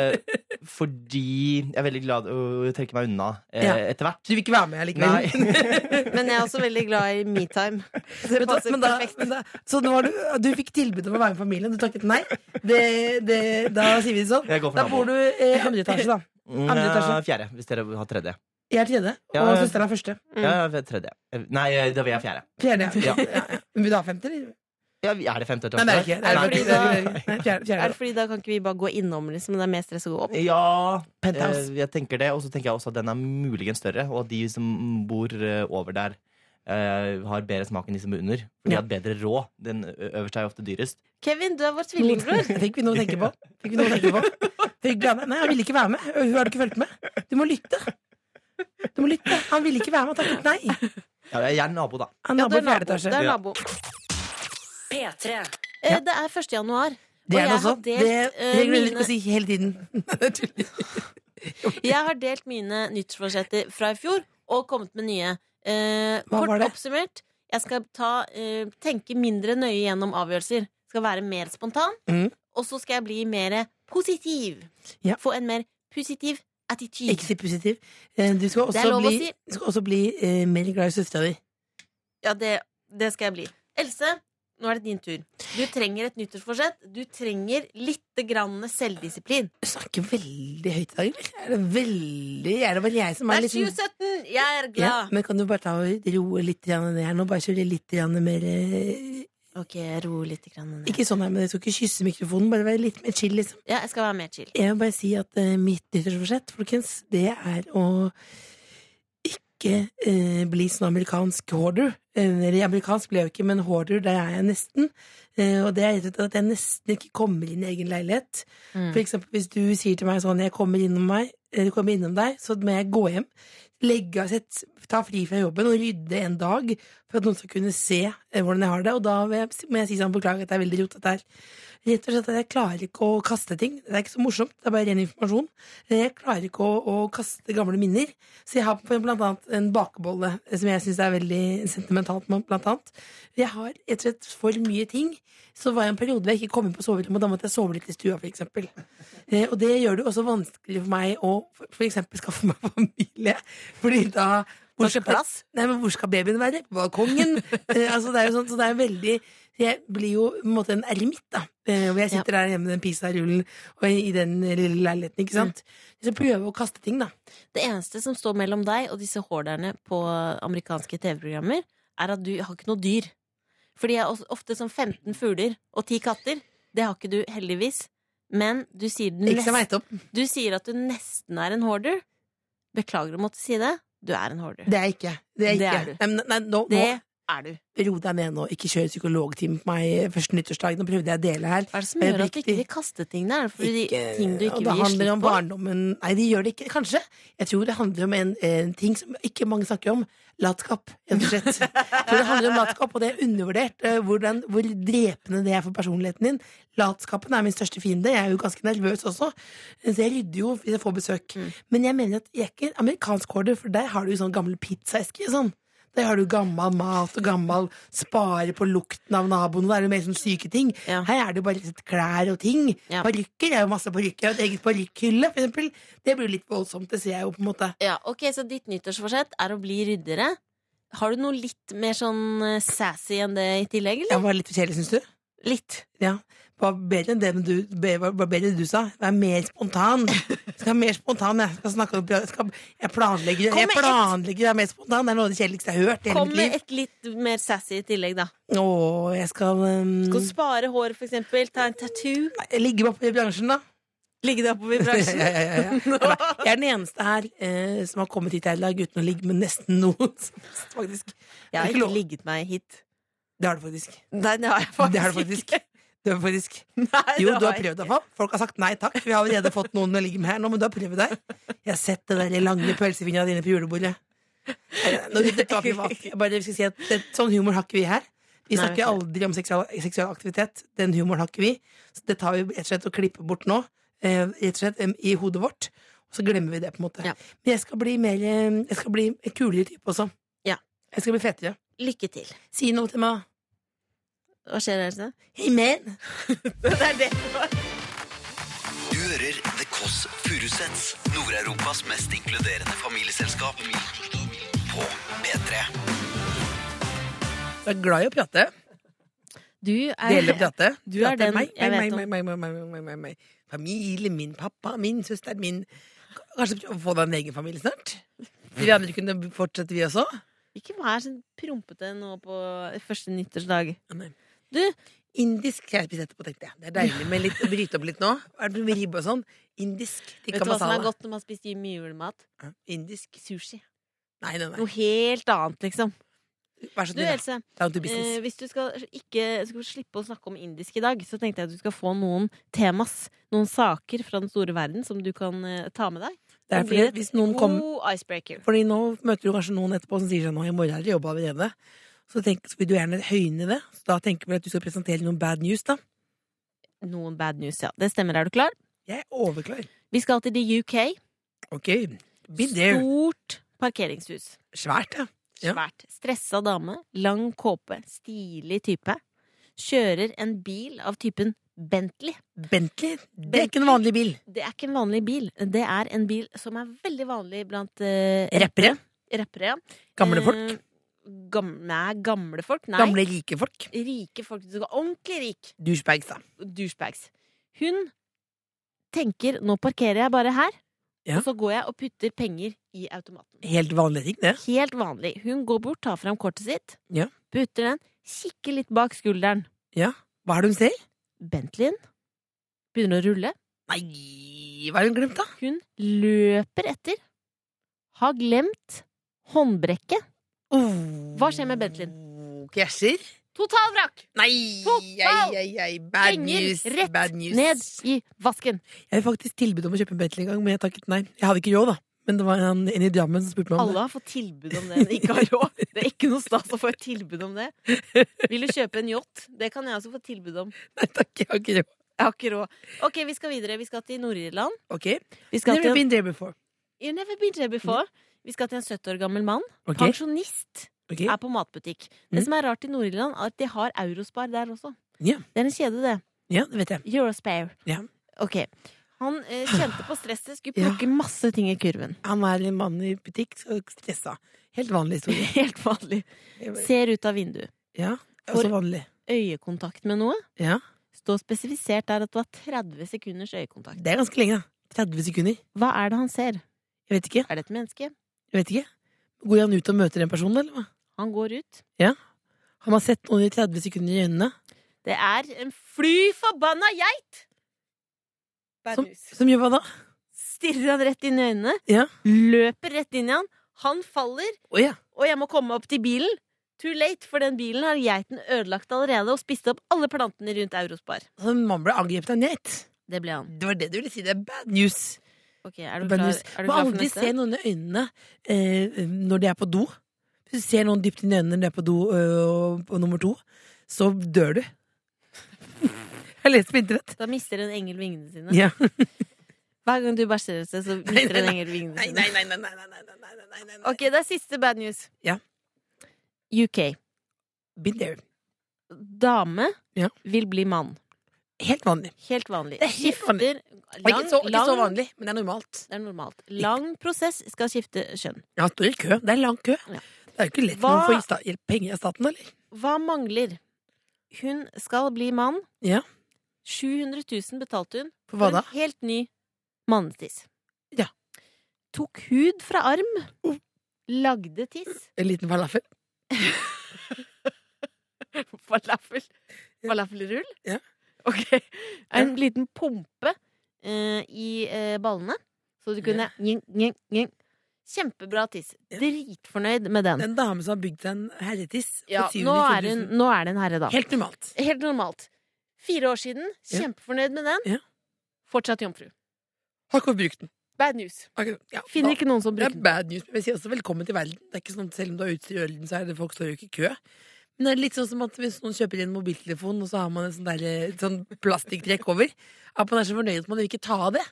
[SPEAKER 5] Eh, fordi jeg er veldig glad å trekke meg unna eh,
[SPEAKER 3] Ja.
[SPEAKER 5] etter hvert.
[SPEAKER 3] Så du vil ikke være med likevel?
[SPEAKER 5] Nei.
[SPEAKER 2] Men jeg er også veldig glad i metime. Det
[SPEAKER 3] Men da,
[SPEAKER 2] passer
[SPEAKER 3] men da,
[SPEAKER 2] perfekt.
[SPEAKER 3] men da, så nå har du, du fikk tilbud om å være med familien, du takket nei. Det, det, da sier vi det sånn.
[SPEAKER 5] Jeg går for
[SPEAKER 3] Da
[SPEAKER 5] nabo.
[SPEAKER 3] bor du eh, andre etasje, da. Andre etasje.
[SPEAKER 5] Eh, Fjerde, hvis dere har tredje.
[SPEAKER 3] Jeg er tredje,
[SPEAKER 5] Ja,
[SPEAKER 3] og
[SPEAKER 5] ja.
[SPEAKER 3] søsteren er første.
[SPEAKER 5] Ja, ved tredje. Eh, Nei, da vil jeg fjerde.
[SPEAKER 3] Fjerde. Ja.
[SPEAKER 5] Ja.
[SPEAKER 3] Ja, ja. Men vil du ha femte, eller?
[SPEAKER 5] Ja, er det femte etasje?
[SPEAKER 3] Nei, det er ikke.
[SPEAKER 2] fordi
[SPEAKER 3] Det er ikke.
[SPEAKER 5] Nei,
[SPEAKER 2] da-
[SPEAKER 3] Nei, fjerde,
[SPEAKER 2] Er det
[SPEAKER 3] fjerde.
[SPEAKER 2] fordi da kan ikke vi bare gå innom, liksom? Det er mer stress å gå opp.
[SPEAKER 5] Ja,
[SPEAKER 3] Penthouse.
[SPEAKER 5] eh, jeg tenker det. Og så tenker jeg også at den er muligens større, og at de som bor eh, over der, eh, har bedre smak enn de som bor under. For de
[SPEAKER 3] Ja.
[SPEAKER 5] har bedre råd. Den ø- øverste er jo ofte dyrest.
[SPEAKER 2] Kevin, du er vår tvillingbror.
[SPEAKER 3] Fikk vi noe å tenke på? Fikk vi noe å tenke på? Hyggelig, Anne. Nei, han ville ikke være med. Hun har du ikke fulgt med. Du må lytte. Du må lytte. Han ville ikke være med. Han takket nei.
[SPEAKER 5] Ja, jeg er nabo, da.
[SPEAKER 3] Han
[SPEAKER 2] Ja,
[SPEAKER 3] er
[SPEAKER 2] du
[SPEAKER 3] på
[SPEAKER 2] er
[SPEAKER 3] fjerde
[SPEAKER 2] nabo. Du
[SPEAKER 3] etasje.
[SPEAKER 2] er
[SPEAKER 5] Ja.
[SPEAKER 2] nabo.
[SPEAKER 4] P3.
[SPEAKER 2] Eh, Det er 1. januar.
[SPEAKER 3] Det
[SPEAKER 2] og
[SPEAKER 3] er
[SPEAKER 2] jeg
[SPEAKER 3] det også.
[SPEAKER 2] har
[SPEAKER 3] Det
[SPEAKER 2] delt, eh,
[SPEAKER 3] regler jeg
[SPEAKER 2] mine-
[SPEAKER 3] ikke å si hele tiden.
[SPEAKER 2] Jeg har delt mine nyttårsforsetter fra i fjor og kommet med nye. Eh,
[SPEAKER 3] Hva
[SPEAKER 2] kort
[SPEAKER 3] var det?
[SPEAKER 2] oppsummert, jeg skal ta, eh, tenke mindre nøye gjennom avgjørelser. Skal være mer spontan.
[SPEAKER 3] Mhm.
[SPEAKER 2] Og så skal jeg bli mer positiv.
[SPEAKER 3] Ja.
[SPEAKER 2] Få en mer positiv attityd.
[SPEAKER 3] Ikke si positiv. Eh, Du skal
[SPEAKER 2] Det er
[SPEAKER 3] også
[SPEAKER 2] lov å
[SPEAKER 3] bli,
[SPEAKER 2] si.
[SPEAKER 3] du skal også bli eh, mer glad i søstera di.
[SPEAKER 2] Ja, det, det skal jeg bli. Else, nå er det din tur. Du trenger et nyttårsforsett. Du trenger litt grann selvdisiplin.
[SPEAKER 3] Du snakker veldig høyt i dag, eller? Er det veldig Er det bare jeg som
[SPEAKER 2] Det
[SPEAKER 3] er
[SPEAKER 2] er
[SPEAKER 3] litt sånn-
[SPEAKER 2] 2017! Jeg er
[SPEAKER 3] ja,
[SPEAKER 2] glad.
[SPEAKER 3] Men kan du bare ta og roe litt grann ned her nå? Bare kjøre litt grann mer eh,
[SPEAKER 2] Ok, ro litt. Grann ned.
[SPEAKER 3] Ikke sånn her, men jeg skal ikke kysse mikrofonen. Bare være litt mer chill, liksom.
[SPEAKER 2] Ja, jeg skal være mer chill.
[SPEAKER 3] Jeg vil bare si at eh, mitt nyttårsforsett, folkens, det er å ikke ikke eh, bli sånn amerikansk hoarder. Eh, Eller amerikansk ble jeg jo ikke, men hoarder, det er jeg nesten. Eh, og det er rett og slett at jeg nesten ikke kommer inn i egen leilighet. For eksempel hvis du sier til meg sånn, jeg kommer innom, meg, eller kommer innom deg, så må jeg gå hjem, legge av sett, ta fri fra jobben og rydde en dag for at noen skal kunne se eh, hvordan jeg har det. Og da må jeg, må jeg si sånn, beklager at det er veldig rotete her. Rett og slett at jeg klarer ikke å kaste ting. Det er ikke så morsomt, det er bare ren informasjon. Eh, Jeg klarer ikke å, å kaste gamle minner. Så jeg har på blant annet en bakebolle eh, som jeg syns er veldig sentimentalt. men Blant annet. Jeg har rett og slett for mye ting. Så var jeg en periode hvor jeg ikke kom inn på soverommet, og da måtte jeg sove litt i stua, for eksempel. Eh, Og det gjør det jo også vanskelig for meg å for for eksempel skaffe meg familie. Fordi da
[SPEAKER 2] Har ikke plass?
[SPEAKER 3] Nei, men hvor skal babyen være? På balkongen? Eh, altså, det er jo sånn, så det er veldig Jeg blir jo på en måte en eremitt, da. Eh, hvor jeg sitter der hjemme med den pisarullen og i i den lille leiligheten, ikke sant.
[SPEAKER 2] Mm.
[SPEAKER 3] Så jeg prøver å kaste ting, da.
[SPEAKER 2] Det eneste som står mellom deg og disse hoarderne på amerikanske TV-programmer, er at du har ikke noe dyr. For de er også- ofte som 15 fugler og 10 katter. Det har ikke du, heldigvis. Men du sier, den
[SPEAKER 3] Ikke som jeg
[SPEAKER 2] nest,
[SPEAKER 3] vet om.
[SPEAKER 2] du sier at du nesten er en hoarder. Beklager å måtte si det. Du er en hoarder.
[SPEAKER 3] Det er jeg ikke. Det er jeg
[SPEAKER 2] Det
[SPEAKER 3] ikke.
[SPEAKER 2] er du.
[SPEAKER 3] Nei, men- nei, nå,
[SPEAKER 2] Det er du.
[SPEAKER 3] nå ro deg ned nå. Ikke kjør psykologtime på meg første nyttårsdag. Nå prøvde jeg å dele her.
[SPEAKER 2] Hva er det som
[SPEAKER 3] Jeg
[SPEAKER 2] gjør at du
[SPEAKER 3] brukte-
[SPEAKER 2] ikke vil kaste ting der? Er det fordi
[SPEAKER 3] Ikke-
[SPEAKER 2] ting du
[SPEAKER 3] og
[SPEAKER 2] ikke
[SPEAKER 3] det
[SPEAKER 2] vil gi
[SPEAKER 3] handler om
[SPEAKER 2] slipp på?
[SPEAKER 3] barndommen Nei, de gjør det ikke, kanskje. Jeg tror det handler om en, en ting som ikke mange snakker om. Latskap, rett og slett. Jeg tror det handler om latskap, og det er undervurdert eh, hvordan, hvor drepende det er for personligheten din. Latskapen er min største fiende. Jeg er jo ganske nervøs også, så jeg rydder jo hvis jeg får besøk.
[SPEAKER 2] Mm.
[SPEAKER 3] Men jeg mener at jeg er ikke amerikansk hoarder, for der har du jo sånn gamle pizzaesker. Sånn. Der har du gammel mat og gammel spare på lukten av naboen. og Da er det mer sånn syke ting.
[SPEAKER 2] Ja.
[SPEAKER 3] Her er det jo bare litt klær og ting.
[SPEAKER 2] Ja.
[SPEAKER 3] Parykker. Jeg har jo masse parykker. Jeg har et eget parykkhylle, for eksempel. Det blir jo litt voldsomt, det ser jeg jo på en måte.
[SPEAKER 2] Ja, ok, Så ditt nyttårsforsett er å bli ryddere. Har du noe litt mer sånn eh, sassy enn det i tillegg, eller?
[SPEAKER 3] Jeg var litt for kjedelig, syns du?
[SPEAKER 2] Litt.
[SPEAKER 3] Ja. Var bedre enn det men du, be- var var bedre enn det du sa. Vær mer spontan. Jeg skal være mer spontan, jeg. Skal snakke opp, jeg, skal, jeg planlegger,
[SPEAKER 2] Kom
[SPEAKER 3] jeg
[SPEAKER 2] med ett.
[SPEAKER 3] planlegger å være mer spontan. Det er noe av det kjedeligste jeg har hørt i hele
[SPEAKER 2] Kom
[SPEAKER 3] mitt
[SPEAKER 2] med
[SPEAKER 3] liv.
[SPEAKER 2] et litt mer sassy i tillegg, da.
[SPEAKER 3] Å, jeg skal, um,
[SPEAKER 2] Skal du spare hår, for eksempel. Ta en tattoo.
[SPEAKER 3] jeg ligger bare på i bransjen, da.
[SPEAKER 2] Ligge deg oppover i bransjen.
[SPEAKER 3] Ja, ja, ja, ja. Nei, Jeg er den eneste her eh, som har kommet hit i dag uten å ligge med nesten noen. som helst, Faktisk.
[SPEAKER 2] Jeg
[SPEAKER 3] Det er
[SPEAKER 2] har
[SPEAKER 3] ikke
[SPEAKER 2] ikke
[SPEAKER 3] lov.
[SPEAKER 2] ligget meg hit.
[SPEAKER 3] Det har du faktisk.
[SPEAKER 2] Nei, det har jeg
[SPEAKER 3] Det har du faktisk. Du har faktisk. Jo, du har prøvd deg på. Folk har sagt nei takk. Vi har allerede fått noen å ligge med her nå, men du har prøvd deg. Jeg har sett det der lange pølsefingra dine på julebordet. Nei, Nå, dette var privat. Jeg bare skal si at det, sånn humor har ikke vi her. Vi
[SPEAKER 2] Nei, vi
[SPEAKER 3] snakker
[SPEAKER 2] har
[SPEAKER 3] aldri om seksual, seksuell aktivitet. Den humoren har ikke vi. Så det tar vi rett og slett og klipper bort nå. eh, Rett og slett em, i hodet vårt. Og så glemmer vi det, på en måte.
[SPEAKER 2] Ja.
[SPEAKER 3] Men jeg skal bli mer eh, Jeg skal bli en kulere type også.
[SPEAKER 2] Ja.
[SPEAKER 3] Jeg skal bli fetere.
[SPEAKER 2] Lykke til.
[SPEAKER 3] Si noe til meg.
[SPEAKER 2] Hva skjer, Else?
[SPEAKER 3] Hey, man!
[SPEAKER 1] Du hører The Kåss Furuseths, Nord-Europas mest inkluderende familieselskap. På P3.
[SPEAKER 3] Du er glad i å prate.
[SPEAKER 2] Du
[SPEAKER 3] Dele
[SPEAKER 2] er
[SPEAKER 3] prate.
[SPEAKER 2] du er
[SPEAKER 3] Prate.
[SPEAKER 2] den
[SPEAKER 3] meg,
[SPEAKER 2] jeg vet
[SPEAKER 3] meg, meg, meg, meg, meg, meg, meg, meg, meg. Familie, min pappa, min søster, min Kanskje prøve å få deg en egen familie snart? Vi andre kunne fortsette, vi også.
[SPEAKER 2] Ikke vær sånn prompete nå på første nyttårsdag.
[SPEAKER 3] Nei.
[SPEAKER 2] Du,
[SPEAKER 3] Indisk skal jeg spise etterpå, tenkte jeg. Det er deilig med litt å bryte opp litt nå. Er det med ribbe og sånn? Indisk
[SPEAKER 2] vet
[SPEAKER 3] tikka
[SPEAKER 2] du hva som er
[SPEAKER 3] masala.
[SPEAKER 2] godt når man spiser mye julemat?
[SPEAKER 3] Indisk
[SPEAKER 2] Sushi.
[SPEAKER 3] Nei, nei, nei.
[SPEAKER 2] Noe helt annet, liksom.
[SPEAKER 3] Vær så
[SPEAKER 2] Du,
[SPEAKER 3] snill. da.
[SPEAKER 2] Else.
[SPEAKER 3] Down to
[SPEAKER 2] Eh,
[SPEAKER 3] business.
[SPEAKER 2] hvis du skal, ikke, skal slippe å snakke om indisk i dag, så tenkte jeg at du skal få noen temas, noen saker fra den store verden som du kan eh, ta med deg.
[SPEAKER 3] Det er fordi hvis noen kommer
[SPEAKER 2] God icebreaker.
[SPEAKER 3] Fordi nå møter du kanskje noen etterpå som sier sånn «Å, i morgen er det jobb allerede. Så, tenk, så vil du gjerne høyne det. Så da tenker vi at du skal presentere noen bad news, da.
[SPEAKER 2] Noen bad news, ja. Det stemmer, er du klar?
[SPEAKER 3] Jeg er overklar.
[SPEAKER 2] Vi skal til The UK.
[SPEAKER 3] Ok. Be there.
[SPEAKER 2] Stort parkeringshus.
[SPEAKER 3] Svært, ja. Ja.
[SPEAKER 2] Svært. Stressa dame, lang kåpe, stilig type. Kjører en bil av typen Bentley.
[SPEAKER 3] Bentley. Det er ikke en vanlig bil.
[SPEAKER 2] Det er ikke en vanlig bil. Det er en bil som er veldig vanlig blant eh,
[SPEAKER 3] Rappere.
[SPEAKER 2] rappere. ja.
[SPEAKER 3] Gamle
[SPEAKER 2] Eh,
[SPEAKER 3] folk.
[SPEAKER 2] Gam nei, gamle folk? Nei.
[SPEAKER 3] Gamle, rike folk.
[SPEAKER 2] Rike folk. Du skal være ordentlig rik.
[SPEAKER 3] Douchebags, da.
[SPEAKER 2] Douchebags. Hun tenker 'nå parkerer jeg bare her',
[SPEAKER 3] Ja.
[SPEAKER 2] og så går jeg og putter penger i automaten.
[SPEAKER 3] Helt vanlige ting, det.
[SPEAKER 2] Helt vanlig. Hun går bort, tar fram kortet sitt,
[SPEAKER 3] Ja.
[SPEAKER 2] putter den, kikker litt bak skulderen.
[SPEAKER 3] Hva er det hun ser?
[SPEAKER 2] Bentleyen begynner å rulle.
[SPEAKER 3] Nei, hva har hun glemt, da?
[SPEAKER 2] Hun løper etter, har glemt Håndbrekket.
[SPEAKER 3] Oh.
[SPEAKER 2] Hva skjer med Bentleyen?
[SPEAKER 3] Krasjer?
[SPEAKER 2] Totalvrakk!
[SPEAKER 3] Nei!
[SPEAKER 2] Total
[SPEAKER 3] Ei, ei, ei. Bad
[SPEAKER 2] Penger
[SPEAKER 3] news.
[SPEAKER 2] rett
[SPEAKER 3] Bad news.
[SPEAKER 2] ned i vasken.
[SPEAKER 3] Jeg fikk faktisk tilbud om å kjøpe en Bentley en gang, men jeg takket nei. Jeg hadde ikke råd, da. Men det var en, en i Drammen som spurte meg om
[SPEAKER 2] Alle har fått tilbud om det, men ikke har råd. Det er ikke noe stas å få et tilbud om det. Vil du kjøpe en yacht? Det kan jeg også få tilbud om.
[SPEAKER 3] det. Nei takk, jeg har ikke råd.
[SPEAKER 2] Jeg har ikke råd. Ok, vi skal videre. Vi skal til Nord-Irland.
[SPEAKER 3] Ok,
[SPEAKER 2] Vi skal til
[SPEAKER 3] Never been there before.
[SPEAKER 2] You've never been there before. Vi skal til en 70 år gammel mann.
[SPEAKER 3] Ok,
[SPEAKER 2] Pensjonist.
[SPEAKER 3] ok.
[SPEAKER 2] Er på matbutikk.
[SPEAKER 3] Mm.
[SPEAKER 2] Det som er rart i Nord-Irland, er at de har Eurospar der også.
[SPEAKER 3] Ja.
[SPEAKER 2] Det er en kjede, det.
[SPEAKER 3] Ja, det vet jeg.
[SPEAKER 2] Eurospare.
[SPEAKER 3] Ja.
[SPEAKER 2] Ok. Han eh, kjente på stresset, skulle
[SPEAKER 3] Ja.
[SPEAKER 2] plukke masse ting i kurven.
[SPEAKER 3] Han er en mann i butikk, så stressa. Helt vanlig historie.
[SPEAKER 2] Helt vanlig. Ser ut av vinduet.
[SPEAKER 3] Ja,
[SPEAKER 2] For-
[SPEAKER 3] også vanlig.
[SPEAKER 2] Øyekontakt med noe.
[SPEAKER 3] Ja,
[SPEAKER 2] Står spesifisert der at det var 30 sekunders øyekontakt.
[SPEAKER 3] det er ganske lenge, da. 30 sekunder.
[SPEAKER 2] Hva er det han ser?
[SPEAKER 3] Jeg vet ikke.
[SPEAKER 2] Er det et menneske?
[SPEAKER 3] jeg vet ikke. Går han ut og møter en person, eller hva?
[SPEAKER 2] Han går ut.
[SPEAKER 3] Har man sett noen i 30 sekunder i øynene?
[SPEAKER 2] Det er en fly forbanna geit! Bad
[SPEAKER 3] Som,
[SPEAKER 2] news.
[SPEAKER 3] som gjør hva da?
[SPEAKER 2] Stirrer han rett inn i øynene,
[SPEAKER 3] Ja.
[SPEAKER 2] løper rett inn i han. Han faller,
[SPEAKER 3] Å ja.
[SPEAKER 2] og jeg må komme opp til bilen. Too late, for den bilen har geiten ødelagt allerede og spist opp alle plantene rundt Eurospar.
[SPEAKER 3] Så en mann ble angrepet av en geit.
[SPEAKER 2] Det ble han.
[SPEAKER 3] Det var det du ville si. Det er bad news.
[SPEAKER 2] Ok, Er du
[SPEAKER 3] Bad
[SPEAKER 2] klar,
[SPEAKER 3] news.
[SPEAKER 2] er du
[SPEAKER 3] Må
[SPEAKER 2] klar for
[SPEAKER 3] aldri se
[SPEAKER 2] neste?
[SPEAKER 3] noen i øynene eh, når de er på do. Hvis du ser noen dypt inn i øynene når de er på do eh, på nummer to, så dør du. Jeg leste på internett.
[SPEAKER 2] Da mister en engel vingene sine.
[SPEAKER 3] Ja.
[SPEAKER 2] Hver gang du bæsjer et sted, så mister en engel vingene sine.
[SPEAKER 3] nei, nei, nei, nei, nei, nei, nei, nei, nei.
[SPEAKER 2] Ok, det er siste bad news.
[SPEAKER 3] Ja.
[SPEAKER 2] UK.
[SPEAKER 3] Been there.
[SPEAKER 2] Dame
[SPEAKER 3] Ja.
[SPEAKER 2] vil bli mann.
[SPEAKER 3] Helt vanlig.
[SPEAKER 2] Helt vanlig.
[SPEAKER 3] Det er helt vanlig.
[SPEAKER 2] Skifter
[SPEAKER 3] Ikke
[SPEAKER 2] lang,
[SPEAKER 3] så, ikke så
[SPEAKER 2] lang
[SPEAKER 3] vanlig, men det er normalt.
[SPEAKER 2] Det er normalt. Lang prosess skal skifte kjønn.
[SPEAKER 3] Ja, stor kø. Det er lang kø.
[SPEAKER 2] Ja.
[SPEAKER 3] Det er jo ikke lett
[SPEAKER 2] Hva-
[SPEAKER 3] for å få sta- hjelp- penger av staten, eller?
[SPEAKER 2] Hva mangler? Hun skal bli mann.
[SPEAKER 3] Ja.
[SPEAKER 2] 700 000 betalte hun
[SPEAKER 3] For hva da?
[SPEAKER 2] en helt ny mannetiss.
[SPEAKER 3] Ja.
[SPEAKER 2] Tok hud fra arm.
[SPEAKER 3] Oh.
[SPEAKER 2] Lagde tiss.
[SPEAKER 3] En liten falafel?
[SPEAKER 2] Falafel. Falafelrull.
[SPEAKER 3] Ja.
[SPEAKER 2] Ok. En liten pumpe eh, i eh, ballene, så du kunne Njeng, njeng, njeng. Kjempebra tiss.
[SPEAKER 3] Ja.
[SPEAKER 2] Dritfornøyd med den.
[SPEAKER 3] Det er en dame som har bygd seg en herretiss. for
[SPEAKER 2] Ja, nå er,
[SPEAKER 3] 720
[SPEAKER 2] hun,
[SPEAKER 3] 000.
[SPEAKER 2] nå er det en herre, da. Helt,
[SPEAKER 3] Helt normalt.
[SPEAKER 2] normalt. Fire år siden,
[SPEAKER 3] Ja.
[SPEAKER 2] kjempefornøyd med den.
[SPEAKER 3] Ja.
[SPEAKER 2] Fortsatt jomfru.
[SPEAKER 3] Har ikke fått brukt den.
[SPEAKER 2] Bad news.
[SPEAKER 3] Har ikke- Ja,
[SPEAKER 2] Finner
[SPEAKER 3] da-
[SPEAKER 2] ikke noen som
[SPEAKER 3] det er
[SPEAKER 2] bruker den.
[SPEAKER 3] bad news, men jeg sier også velkommen til verden. Det er ikke sånn, Selv om du har utstyr i verden, så er det folk står jo ikke i kø. Men det er litt sånn som at hvis noen kjøper en mobiltelefon, og så har man en sånn, der, eh, sånn plastikktrekk over, at man er så fornøyd at man vil ikke ta av det.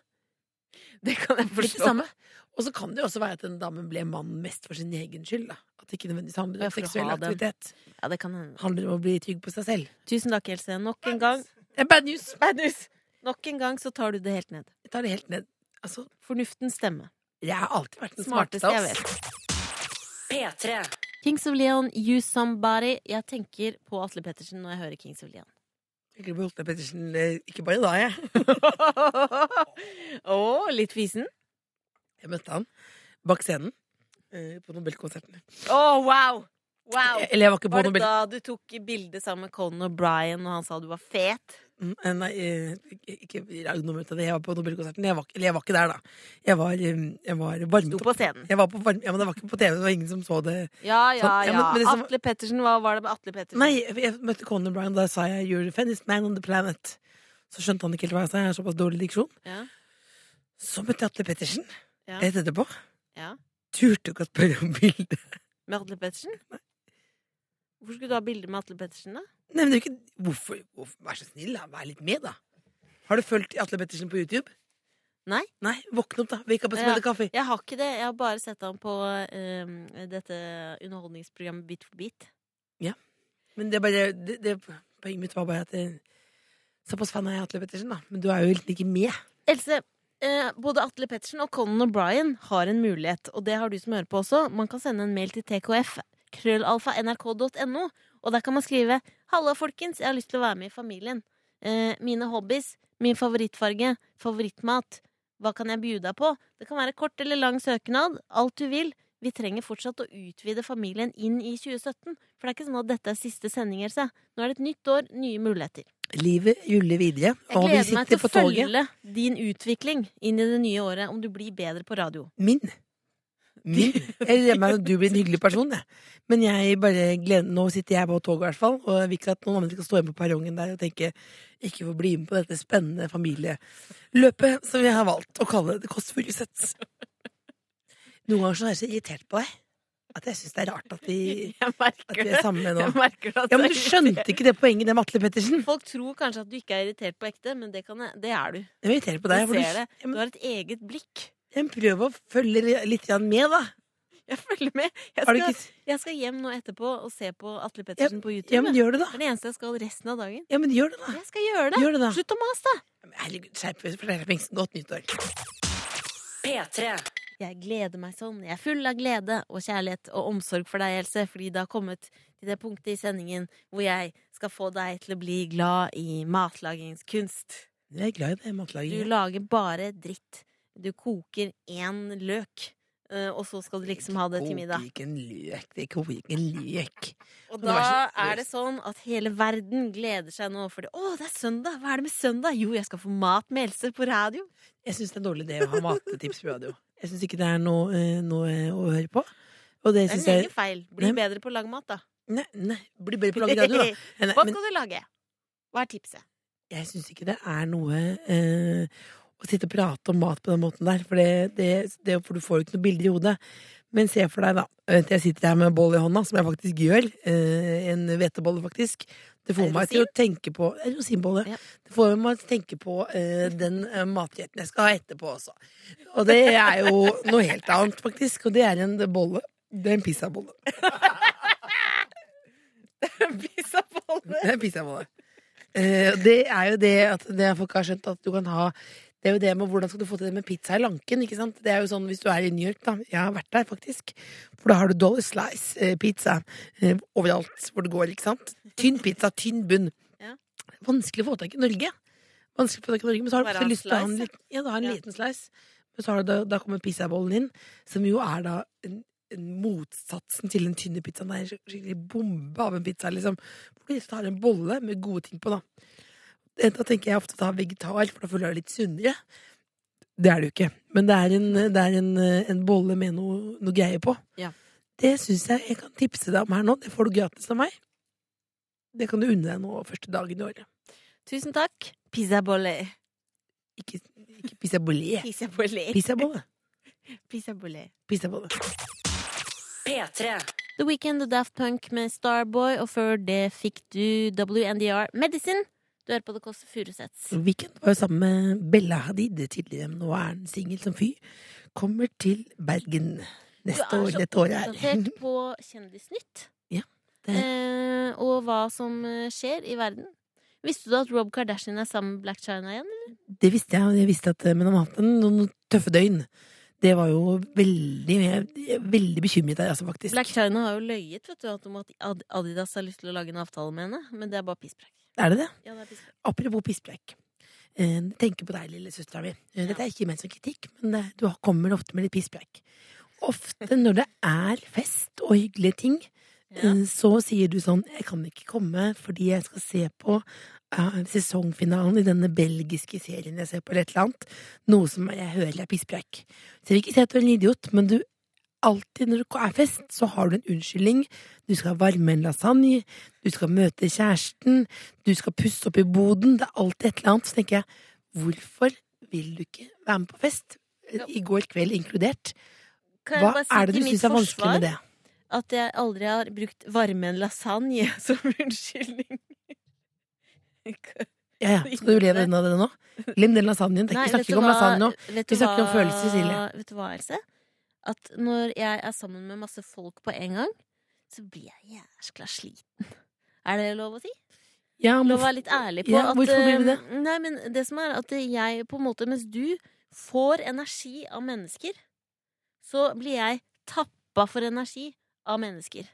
[SPEAKER 2] Det kan jeg
[SPEAKER 3] Det er ikke det
[SPEAKER 2] forstå.
[SPEAKER 3] samme. Og så kan det jo også være at en dame ble mann mest for sin egen skyld. Da. At det ikke nødvendigvis handler
[SPEAKER 2] Ja,
[SPEAKER 3] om
[SPEAKER 2] for å
[SPEAKER 3] seksuell
[SPEAKER 2] ha den.
[SPEAKER 3] aktivitet.
[SPEAKER 2] Ja, det kan hende.
[SPEAKER 3] handler om å bli trygg på seg selv.
[SPEAKER 2] Tusen takk, Else. Nok en gang.
[SPEAKER 3] Det er bad news.
[SPEAKER 2] Bad news. Nok en gang så tar du det helt ned.
[SPEAKER 3] Jeg tar det helt ned. Altså,
[SPEAKER 2] Fornuftens stemme.
[SPEAKER 3] jeg har alltid vært den smarteste
[SPEAKER 2] Smarteste
[SPEAKER 3] av
[SPEAKER 2] jeg
[SPEAKER 3] oss.
[SPEAKER 2] vet.
[SPEAKER 4] P3.
[SPEAKER 2] Kings of Leon, You Somebody. Jeg tenker på Atle Pettersen når jeg hører Kings of Leon.
[SPEAKER 3] Jeg kunne beholdt deg, Pettersen, eh, ikke bare da, jeg.
[SPEAKER 2] Å, litt fisen?
[SPEAKER 3] Jeg møtte han bak scenen eh, på Nobelkonserten.
[SPEAKER 2] Å, wow! Wow!
[SPEAKER 3] Eller jeg var ikke på
[SPEAKER 2] Var det
[SPEAKER 3] Nobel...
[SPEAKER 2] da du tok bilde sammen med Conan O'Brien og han sa du var fet?
[SPEAKER 3] Mm, eh, Nei, eh, ikke lag noe ut av det. Jeg var på Nobelkonserten. Jeg var, ikke- eller jeg var ikke der, da. Jeg var, eh, jeg var
[SPEAKER 2] Sto
[SPEAKER 3] varmet opp.
[SPEAKER 2] på scenen.
[SPEAKER 3] Jeg var på varm... Ja, men det var ikke på TV, det var ingen som så det.
[SPEAKER 2] Ja, ja,
[SPEAKER 3] Sånn, ja,
[SPEAKER 2] ja.
[SPEAKER 3] men- men det som-
[SPEAKER 2] Atle Pettersen, hva var det med Atle Pettersen?
[SPEAKER 3] Nei, jeg- jeg møtte Conan O'Brien, og da sa jeg 'You're the funniest man on the planet'. Så skjønte han ikke helt hva jeg sa. Jeg har såpass dårlig diksjon.
[SPEAKER 2] Ja,
[SPEAKER 3] Så møtte jeg Atle Pettersen
[SPEAKER 2] Ja.
[SPEAKER 3] rett etterpå.
[SPEAKER 2] ja.
[SPEAKER 3] Turte ikke å spørre om bilde.
[SPEAKER 2] Med Atle Pettersen? Hvorfor skulle du ha bilde med Atle Pettersen, da?
[SPEAKER 3] Nei, men det er jo ikke hvorfor, hvorfor, Vær så snill, da. Vær litt med, da. Har du fulgt Atle Pettersen på YouTube?
[SPEAKER 2] Nei.
[SPEAKER 3] Nei, Våkne opp, da. Wake up and
[SPEAKER 2] Ja.
[SPEAKER 3] smell the coffee.
[SPEAKER 2] Jeg har ikke det. Jeg har bare sett ham på eh, dette underholdningsprogrammet Bit for bit.
[SPEAKER 3] Men det er bare det, det, Poenget mitt var bare at det, Såpass fan er jeg Atle Pettersen, da. Men du er jo helt ikke med.
[SPEAKER 2] Else, eh, både Atle Pettersen og Conan O'Brien har en mulighet, og det har du som hører på også. Man kan sende en mail til tkf, krøllalfa, nrk.no, og der kan man skrive 'Halla, folkens, jeg har lyst til å være med i familien'. Eh, mine hobbies, min favorittfarge, favorittmat. Hva kan jeg bjude deg på? Det kan være kort eller lang søknad. Alt du vil. Vi trenger fortsatt å utvide familien inn i 2017. For det er ikke sånn at dette er siste sending, Else. Nå er det et nytt år, nye muligheter.
[SPEAKER 3] Livet ruller videre.
[SPEAKER 2] Jeg
[SPEAKER 3] og vi
[SPEAKER 2] gleder meg til
[SPEAKER 3] sitter
[SPEAKER 2] å
[SPEAKER 3] på toget.
[SPEAKER 2] følge din utvikling inn i det nye året, om du blir bedre på radio.
[SPEAKER 3] Min. Min. Jeg regner med at du blir en hyggelig person, jeg. Men jeg bare gleder, nå sitter jeg på toget, i hvert fall. Og jeg vil ikke at noen andre skal stå igjen på perrongen der og tenke ikke få bli med på dette spennende familieløpet som jeg har valgt å kalle det Kåss Furuseth. Noen ganger så er jeg så irritert på deg at jeg syns det er rart at vi,
[SPEAKER 2] Jeg
[SPEAKER 3] at
[SPEAKER 2] merker
[SPEAKER 3] vi
[SPEAKER 2] det.
[SPEAKER 3] er sammen nå.
[SPEAKER 2] Jeg merker det at
[SPEAKER 3] Ja, men
[SPEAKER 2] det
[SPEAKER 3] du
[SPEAKER 2] er
[SPEAKER 3] skjønte ikke det poenget, det med Atle Pettersen.
[SPEAKER 2] irriterende. Folk tror kanskje at du ikke er irritert på ekte, men det, kan jeg, det er du.
[SPEAKER 3] Jeg var irritert på
[SPEAKER 2] Du
[SPEAKER 3] deg. for
[SPEAKER 2] ser det.
[SPEAKER 3] Ja,
[SPEAKER 2] Du
[SPEAKER 3] men,
[SPEAKER 2] har et eget blikk.
[SPEAKER 3] jeg prøver å følge litt grann med, da.
[SPEAKER 2] Jeg følger med. Jeg
[SPEAKER 3] Har du
[SPEAKER 2] skal,
[SPEAKER 3] ikke
[SPEAKER 2] jeg skal hjem nå etterpå og se på Atle Pettersen på YouTube.
[SPEAKER 3] Ja, men
[SPEAKER 2] jeg.
[SPEAKER 3] gjør det,
[SPEAKER 2] det
[SPEAKER 3] da.
[SPEAKER 2] er det eneste jeg skal resten av dagen.
[SPEAKER 3] Ja, men gjør det, da.
[SPEAKER 2] Jeg skal gjøre det.
[SPEAKER 3] Gjør det, da.
[SPEAKER 2] Slutt å mase, da!
[SPEAKER 3] Herregud, skjerp deg, for det er pengsen. Godt nyttår.
[SPEAKER 4] P3.
[SPEAKER 2] Jeg gleder meg sånn. Jeg er full av glede og kjærlighet og omsorg for deg, Else, fordi det har kommet til det punktet i sendingen hvor jeg skal få deg til å bli glad i matlagingskunst.
[SPEAKER 3] Jeg er glad i det
[SPEAKER 2] Du
[SPEAKER 3] matlagingen.
[SPEAKER 2] lager bare dritt. Du koker én løk, eh, og så skal du liksom ha det til middag.
[SPEAKER 3] Koker ikke en løk. Det koker ikke en løk.
[SPEAKER 2] Og
[SPEAKER 3] Men
[SPEAKER 2] da
[SPEAKER 3] vær så snill.
[SPEAKER 2] er det sånn at hele verden gleder seg nå for det. Å, det er søndag! Hva er det med søndag? Jo, jeg skal få mat med Else på radio.
[SPEAKER 3] Jeg syns det er en dårlig idé å ha matetips på radio. Jeg syns ikke det er noe, eh, noe eh, å høre på. Og
[SPEAKER 2] Det
[SPEAKER 3] det
[SPEAKER 2] er
[SPEAKER 3] syns
[SPEAKER 2] din
[SPEAKER 3] jeg
[SPEAKER 2] egen feil. Bli
[SPEAKER 3] Nei.
[SPEAKER 2] bedre på å lage mat, da.
[SPEAKER 3] Nei, nei bli bedre på å lage radio, da.
[SPEAKER 2] Hva
[SPEAKER 3] Nei, nei, men
[SPEAKER 2] skal du lage? Hva er tipset?
[SPEAKER 3] jeg syns ikke det er noe eh, å sitte og prate om mat på den måten der, for, det, det, det, for du får jo ikke noe bilder i hodet. Men se for deg, da. Vent, Jeg sitter her med en boll i hånda, som jeg faktisk gjør. Eh, en hvetebolle, faktisk. Det
[SPEAKER 2] Er
[SPEAKER 3] får
[SPEAKER 2] det
[SPEAKER 3] meg til å tenke på eh, Rosinbolle.
[SPEAKER 2] Ja.
[SPEAKER 3] Det får meg til å tenke på eh, den eh, matretten jeg skal ha etterpå også. Og det er jo noe helt annet, faktisk. Og det er en bolle. Det er en pizzabolle.
[SPEAKER 2] Pizzabolle.
[SPEAKER 3] Det er pizzabolle. Eh, det er jo det at det folk har skjønt at du kan ha det er jo det med Hvordan skal du få til det med pizza i lanken? ikke sant? Det er jo sånn Hvis du er i New York, da. Jeg har vært der, faktisk. For da har du dollar slice eh, pizza eh, overalt hvor det går. ikke sant? Tynn pizza, tynn bunn.
[SPEAKER 2] Ja.
[SPEAKER 3] Vanskelig å få tak i i Norge. Vanskelig å få tak i i Norge, Men så har du
[SPEAKER 2] Bare ha
[SPEAKER 3] plutselig lyst til å ha en
[SPEAKER 2] slice,
[SPEAKER 3] liten, ja, da, en
[SPEAKER 2] Ja.
[SPEAKER 3] liten slice. Men så har du, da, da kommer pizzabollen inn, som jo er da en, en motsatsen til den tynne pizzaen. Det er en skik- skikkelig bombe av en pizza. liksom. Hvor du har en bolle med gode ting på, da. Eh, Da tenker jeg ofte ta vegetar, for da føler jeg det litt sunnere. Det er det jo ikke. Men det er en, det er en, eh, en bolle med noe, noe greier på.
[SPEAKER 2] Ja.
[SPEAKER 3] Det syns jeg jeg kan tipse deg om her nå. Det får du gratis av meg. Det kan du unne deg nå første dagen i året.
[SPEAKER 2] Tusen takk. Pizzabolle.
[SPEAKER 3] Ikke, ikke pizzabolle.
[SPEAKER 2] Pizzabolle.
[SPEAKER 3] Pizzabolle.
[SPEAKER 2] Pizzabolle.
[SPEAKER 3] Pizzabolle.
[SPEAKER 4] P3.
[SPEAKER 2] The Weekend og Daft Punk med Starboy, og før det fikk du WNDR Medicine. Du hører på Det Kåss Furuseths.
[SPEAKER 3] Weekend var jo sammen med Bella Hadid tidligere, men nå er han singel som fy. Kommer til Bergen neste år. Dette året her.
[SPEAKER 2] oppdatert på Kjendisnytt
[SPEAKER 3] Ja, det-
[SPEAKER 2] eh, og hva som eh, skjer i verden. Visste du at Rob Kardashian er sammen med Black China igjen? eller?
[SPEAKER 3] Det visste jeg, og jeg visste at, eh, men han har hatt en- noen tøffe døgn. Det var jo veldig Jeg jeg er veldig bekymret der, altså, faktisk.
[SPEAKER 2] Black China har jo løyet vet du, at om at Ad- Adidas har lyst til å lage en avtale med henne, men det er bare pisspreik.
[SPEAKER 3] Er det det?
[SPEAKER 2] Ja, det er pisspreik.
[SPEAKER 3] Apropos pisspreik. Eh, Tenker på deg, lille søstera mi. Eh, Dette er ikke ment som kritikk, men det, du kommer ofte med litt pisspreik. Ofte når det er fest og hyggelige ting,
[SPEAKER 2] Ja.
[SPEAKER 3] eh, så sier du sånn 'Jeg kan ikke komme fordi jeg skal se på eh, sesongfinalen i denne belgiske serien jeg ser på', eller et eller annet. Noe som jeg hører er pisspreik. Så jeg vil ikke si at du er en idiot, men du alltid når det er fest, så har du en unnskyldning. Du skal varme en lasagne, du skal møte kjæresten, du skal pusse opp i boden. Det er alltid et eller annet. Så tenker jeg, hvorfor vil du ikke være med på fest? I går kveld inkludert.
[SPEAKER 2] Kan jeg
[SPEAKER 3] Hva
[SPEAKER 2] bare si
[SPEAKER 3] er det
[SPEAKER 2] til
[SPEAKER 3] du
[SPEAKER 2] mitt
[SPEAKER 3] syns er vanskelig
[SPEAKER 2] forsvar
[SPEAKER 3] med det?
[SPEAKER 2] At jeg aldri har brukt varme en lasagne som unnskyldning.
[SPEAKER 3] Ja, ja. Skal du leve unna det nå? Glem den lasagnen. Tenk,
[SPEAKER 2] Nei, vet
[SPEAKER 3] vi snakker
[SPEAKER 2] du
[SPEAKER 3] ikke om
[SPEAKER 2] hva-
[SPEAKER 3] lasagne nå.
[SPEAKER 2] vet
[SPEAKER 3] Vi
[SPEAKER 2] du
[SPEAKER 3] snakker om
[SPEAKER 2] hva-
[SPEAKER 3] følelser, Silje.
[SPEAKER 2] Vet du hva, Else? At når jeg er sammen med masse folk på en gang, så blir jeg jæskla sliten. Er det lov å si?
[SPEAKER 3] Ja, men
[SPEAKER 2] Lov å være litt ærlig på
[SPEAKER 3] Ja,
[SPEAKER 2] at
[SPEAKER 3] hvorfor blir vi det?
[SPEAKER 2] eh, Nei, men det som er at jeg på en måte Mens du får energi av mennesker, så blir jeg tappa for energi av mennesker.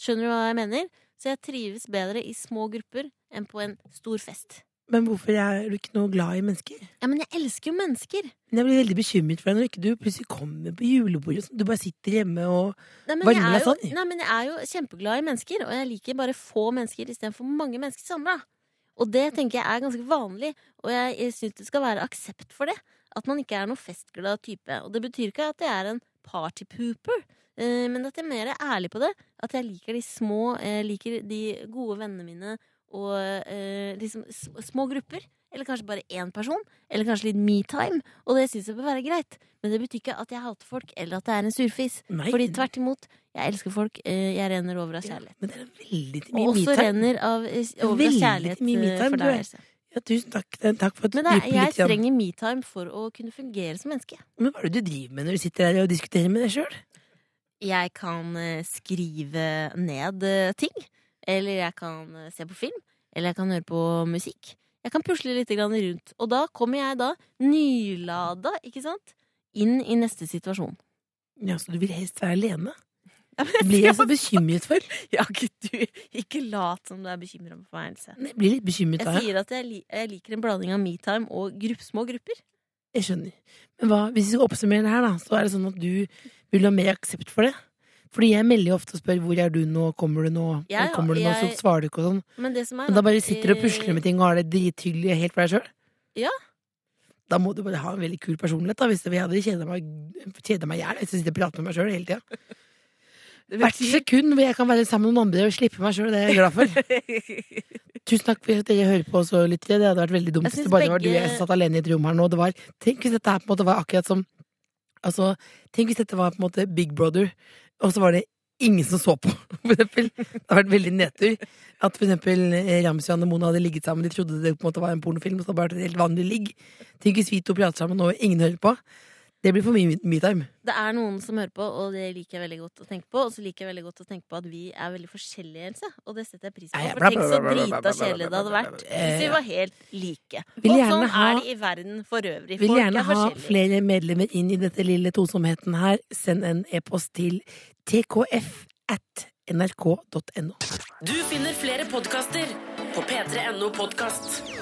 [SPEAKER 2] Skjønner du hva jeg mener? Så jeg trives bedre i små grupper enn på en stor fest.
[SPEAKER 3] men hvorfor er du ikke noe glad i mennesker?
[SPEAKER 2] Ja, men jeg elsker jo mennesker.
[SPEAKER 3] Men jeg blir veldig bekymret for deg når ikke du plutselig kommer på julebordet. og sånn. Du bare sitter hjemme og
[SPEAKER 2] Nei, men,
[SPEAKER 3] Varme
[SPEAKER 2] jeg er jo,
[SPEAKER 3] lasagne.
[SPEAKER 2] nei, men jeg er jo kjempeglad i mennesker, og jeg liker bare få mennesker istedenfor mange mennesker samla. Og det tenker jeg er ganske vanlig, og jeg, jeg syns det skal være aksept for det. At man ikke er noen festglad type. Og det betyr ikke at jeg er en party pooper. Eh, Men at jeg mer er ærlig på det. At jeg liker de små, jeg liker de gode vennene mine og eh, liksom s- små grupper. Eller kanskje bare én person. Eller kanskje litt metime. Og det syns jeg bør være greit. Men det betyr ikke at jeg hater folk, eller at jeg er en surfis.
[SPEAKER 3] Nei.
[SPEAKER 2] Fordi tvert imot, jeg elsker folk. eh, Jeg renner over av kjærlighet.
[SPEAKER 3] Men det er veldig til
[SPEAKER 2] Og
[SPEAKER 3] min
[SPEAKER 2] også
[SPEAKER 3] metime.
[SPEAKER 2] renner av, eh, over av
[SPEAKER 3] Veldig
[SPEAKER 2] kjærlighet
[SPEAKER 3] til mye me
[SPEAKER 2] eh,
[SPEAKER 3] time,
[SPEAKER 2] for
[SPEAKER 3] du
[SPEAKER 2] deg.
[SPEAKER 3] er.
[SPEAKER 2] Else.
[SPEAKER 3] Ja, tusen takk. Det- Takk for at du
[SPEAKER 2] Men det er,
[SPEAKER 3] dypper
[SPEAKER 2] jeg
[SPEAKER 3] litt. grann.
[SPEAKER 2] trenger metime for å kunne fungere som menneske.
[SPEAKER 3] Men hva er det du driver med når du sitter her og diskuterer med deg sjøl?
[SPEAKER 2] Jeg kan eh, skrive ned eh, ting. Eller jeg kan eh, se på film. Eller jeg kan høre på musikk. Jeg kan pusle litt grann rundt. Og da kommer jeg da nylada, ikke sant, inn i neste situasjon.
[SPEAKER 3] Ja, så du vil helst være alene?
[SPEAKER 2] Ja, men jeg
[SPEAKER 3] Blir jeg så
[SPEAKER 2] skal-
[SPEAKER 3] bekymret for?
[SPEAKER 2] Ja, ikke du. Ikke lat som du er bekymra for meg, Else.
[SPEAKER 3] Jeg blir litt bekymret
[SPEAKER 2] Jeg
[SPEAKER 3] av det.
[SPEAKER 2] sier at jeg, li jeg liker en blanding av metime og grupp små grupper.
[SPEAKER 3] Jeg skjønner. Men hva, hvis vi skal oppsummere det her, da, så er det sånn at du vil ha mer aksept for det? Fordi jeg melder jo ofte og spør 'hvor er du nå', 'kommer du nå',
[SPEAKER 2] Ja, ja,
[SPEAKER 3] 'kommer du nå', så
[SPEAKER 2] jeg-
[SPEAKER 3] svarer du ikke og sånn.
[SPEAKER 2] Men det som er
[SPEAKER 3] Men da
[SPEAKER 2] at,
[SPEAKER 3] bare sitter du og pusler
[SPEAKER 2] eh,
[SPEAKER 3] med ting og har det drithyggelig helt for deg sjøl?
[SPEAKER 2] Ja.
[SPEAKER 3] Da må du bare ha en veldig kul personlighet, da, hvis det- jeg hadde kjeda meg kjeda meg i hjel hvis jeg sitter og prater med meg sjøl hele tida. Hvert sekund hvor jeg kan være sammen med noen andre og slippe meg sjøl, det er jeg glad for. Tusen takk for at dere hører på også, lyttere. Det hadde vært veldig dumt
[SPEAKER 2] Jeg
[SPEAKER 3] hvis det
[SPEAKER 2] synes
[SPEAKER 3] bare var du
[SPEAKER 2] begge-
[SPEAKER 3] og jeg som satt alene i et rom her nå. Det var, tenk hvis dette her på en måte var akkurat som Altså, tenk hvis dette var på en måte Big Brother, og så var det ingen som så på, for eksempel. Det har vært veldig nedtur. At for eksempel eh, Ramsi og Anne Mona hadde ligget sammen, de trodde det på en måte var en pornofilm, og så var det et helt vanlig ligg. Tenk hvis vi to prater sammen og ingen hører på. Det blir for mye metime.
[SPEAKER 2] Det er noen som hører på, og det liker jeg veldig godt å tenke på. Og så liker jeg veldig godt å tenke på at vi er veldig forskjellige, Else. Og det setter jeg pris på.
[SPEAKER 3] Nei, jeg-
[SPEAKER 2] For tenk så drita kjedelig det hadde vært hvis vi var helt like.
[SPEAKER 3] Eh, Vil
[SPEAKER 2] Og
[SPEAKER 3] gjerne
[SPEAKER 2] sånn
[SPEAKER 3] ha-
[SPEAKER 2] er det i verden for øvrig.
[SPEAKER 3] Vil
[SPEAKER 2] Folk
[SPEAKER 3] gjerne
[SPEAKER 2] er
[SPEAKER 3] ha
[SPEAKER 2] forskjellige.
[SPEAKER 3] flere medlemmer inn i dette lille tosomheten her. Send en e-post til tkf at nrk.no.
[SPEAKER 4] Du finner flere podkaster på p3.no podkast.